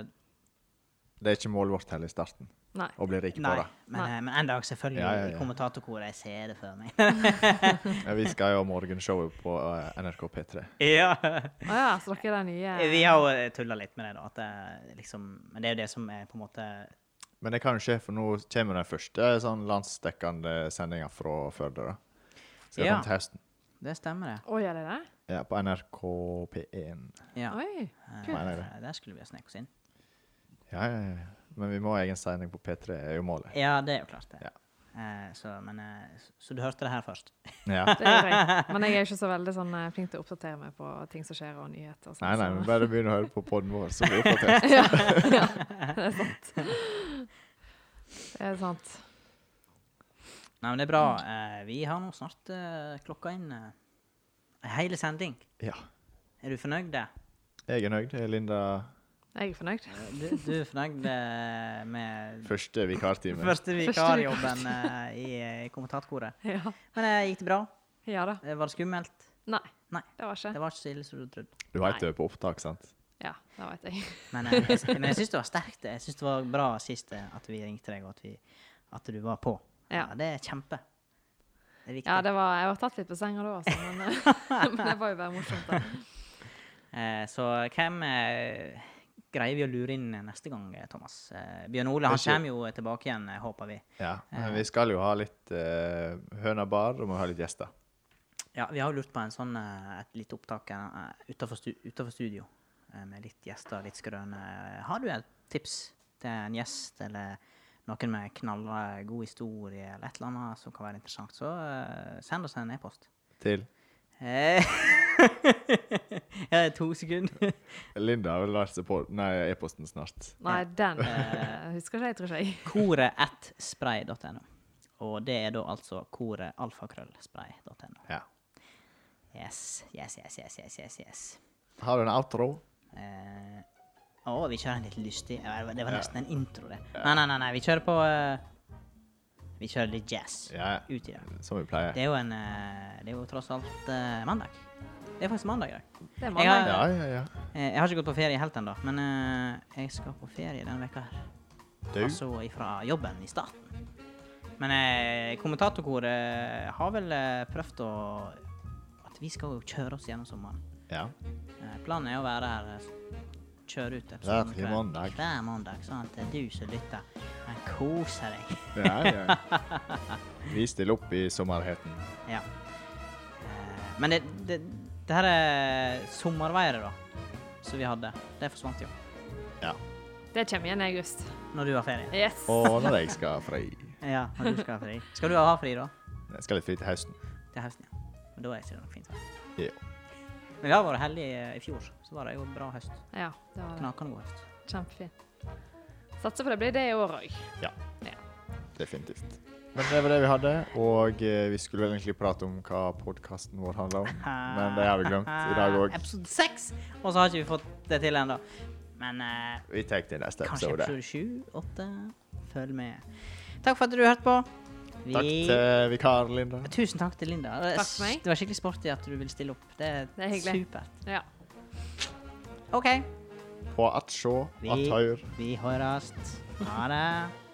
Speaker 1: Det er ikke målet vårt heller i starten,
Speaker 3: Nei.
Speaker 1: å bli rik på
Speaker 2: Nei,
Speaker 1: det.
Speaker 2: men,
Speaker 3: Nei.
Speaker 2: eh, men en dag, selvfølgelig.
Speaker 1: Ja, ja, ja.
Speaker 2: I kommentatorkoret. Jeg ser det for meg.
Speaker 1: Ja, vi skal jo ha morgenshowet på eh, NRK P3.
Speaker 2: ja.
Speaker 3: Å ja, så dere er de nye
Speaker 2: Vi har jo tulla litt med det, da. At det, liksom, men det er jo det som er på en måte
Speaker 1: Men det kan jo skje, for nå kommer den første sånn landsdekkende sendinga fra Førde. da. Skal
Speaker 2: Ja.
Speaker 1: komme til høsten.
Speaker 2: Det stemmer, det.
Speaker 3: Å, gjør det det?
Speaker 1: Ja, på NRK P1.
Speaker 2: Ja.
Speaker 3: Oi.
Speaker 2: Eh,
Speaker 1: Mener det.
Speaker 2: Der skulle vi ha sneket oss inn.
Speaker 1: Ja, ja, ja. Men vi må ha egen sending på P3, er jo målet.
Speaker 2: Ja, det er jo klart, det.
Speaker 1: Ja.
Speaker 2: Eh, Så, men, eh, så- så du hørte det her først?
Speaker 1: Ja.
Speaker 3: Det gjør jeg. Men jeg er ikke så veldig sånn, eh, flink til å oppdatere meg på ting som skjer, og nyheter. Og
Speaker 1: Nei, nei, men
Speaker 3: sånn,
Speaker 1: bare begynn å høre på podden vår, så blir vi oppdatert.
Speaker 3: så- ja, ja, det er sant. Det er sant.
Speaker 2: Nei, men det er bra. Eh, Vi har nå snart eh, klokka inn eh, en hel sending.
Speaker 1: Ja.
Speaker 2: Er du fornøyd? eh?
Speaker 1: Jeg er nøyd. Linda
Speaker 3: Jeg er fornøyd.
Speaker 2: Du, du er fornøyd eh, med
Speaker 1: første vikartime.
Speaker 2: første vikarjobben eh, i, i kommentatkoret?
Speaker 3: Ja,
Speaker 2: Men eh, gikk det bra?
Speaker 3: ja da.
Speaker 2: Eh, Var det skummelt?
Speaker 3: Nei,
Speaker 2: Nei.
Speaker 3: det var
Speaker 2: Det
Speaker 3: ikke.
Speaker 2: var ikke så ille som du trodde.
Speaker 1: Du veit du er på opptak, sant?
Speaker 3: Ja, det vet jeg.
Speaker 2: Men, eh, jeg, men jeg syns det var sterkt. Jeg syns det var bra sist eh, at vi ringte deg, og at, vi, at du var på.
Speaker 3: Ja.
Speaker 2: Det er kjempe. Det er viktig.
Speaker 3: Ja, det var, jeg var tatt litt på senga da, altså, men, eh, men det var jo bare morsomt. da.
Speaker 2: eh, så hvem eh, greier vi å lure inn neste gang, eh, Thomas? Eh, Bjørn Ole han
Speaker 1: Det er ikke-
Speaker 2: kommer jo tilbake igjen, eh, håper vi.
Speaker 1: Ja. Men vi skal jo ha litt eh, høna bar, og må ha litt gjester.
Speaker 2: Ja, vi har jo lurt på en sånn, eh, et lite opptak eh, utenfor, stu, utenfor studio, eh, med litt gjester, litt skrøne. Har du et tips til en gjest, eller noen med knallra god historie, eller et eller annet som kan være interessant, så eh, send oss en e-post.
Speaker 1: Til
Speaker 2: Eh, ja, to sekunder.
Speaker 1: Linda har vel lært seg på Nei, e-posten snart.
Speaker 3: Nei, den eh, husker ikke jeg, tror ikke jeg.
Speaker 2: Koret at spray.no. Og det er da altså koret alfakrøllspray.no.
Speaker 1: Ja.
Speaker 2: Yes, yes, yes, yes, yes, yes, yes.
Speaker 1: Har du en outro?
Speaker 2: Eh, Å, vi kjører en litt lystig eh, Det var nesten en intro, det. Nei, nei, nei, nei vi kjører på eh, Vi kjører litt jazz
Speaker 1: Ja.
Speaker 2: ut i det.
Speaker 1: Som vi pleier.
Speaker 2: Det er jo en eh, Det er jo tross alt eh, mandag. Det er faktisk mandag i dag.
Speaker 3: Det er
Speaker 2: Jeg har-
Speaker 3: mandag.
Speaker 1: Ja, ja, ja.
Speaker 2: Eh, jeg har ikke gått på ferie helt ennå, men eh, jeg skal på ferie denne veka her.
Speaker 1: Du?
Speaker 2: Altså ifra jobben i staten. Men eh, kommentatorkoret har vel eh, prøvd å At vi skal jo kjøre oss gjennom sommeren.
Speaker 1: Ja.
Speaker 2: Eh, Planen er å være her eh, Kjøre ut
Speaker 1: Hver
Speaker 2: episoden
Speaker 1: mandag.
Speaker 2: hver mandag, sånn at du som lytter, kan kose deg.
Speaker 1: ja, ja. Vi stiller opp i sommerheten.
Speaker 2: Ja. Eh, Men det, det, det her er sommerværet, da, som vi hadde. Det forsvant jo
Speaker 1: Ja.
Speaker 3: Det kommer igjen i august.
Speaker 2: når du har ferie.
Speaker 3: Yes.
Speaker 1: Og når jeg skal fri.
Speaker 2: Ja, når du skal ha fri. Skal du ha fri, da?
Speaker 1: Jeg skal litt fri til høsten.
Speaker 2: Til høsten, ja. Men da er ikke det nok fint vær.
Speaker 1: Ja.
Speaker 2: Men vi har vært heldige eh, i fjor, så var det jo bra høst.
Speaker 3: Ja, det var det.
Speaker 2: Knakende god høst.
Speaker 3: Kjempefint. Satser på det blir det i år òg.
Speaker 1: ja.
Speaker 3: Ja.
Speaker 1: Definitivt. Men det var det vi hadde, og eh, vi skulle vel egentlig prate om hva podkasten vår handler om. Men det har vi glemt i dag òg.
Speaker 2: Eh, Episode seks, og så har ikke vi fått det til ennå. Men eh,
Speaker 1: Vi tar det i neste
Speaker 2: kanskje
Speaker 1: episode.
Speaker 2: episode sju, åtte. Følg med. Takk for at du hørte på. Vi-
Speaker 1: Takk til vikar Linda.
Speaker 2: Tusen takk til Linda. Det,
Speaker 3: Takk for meg.
Speaker 2: det var skikkelig sporty at du ville stille opp. Det er,
Speaker 3: Det er hyggelig.
Speaker 2: supert.
Speaker 3: Ja.
Speaker 2: OK,
Speaker 1: På at sjå,
Speaker 2: Vi-
Speaker 1: at høyr.
Speaker 2: vi høres. Ha det.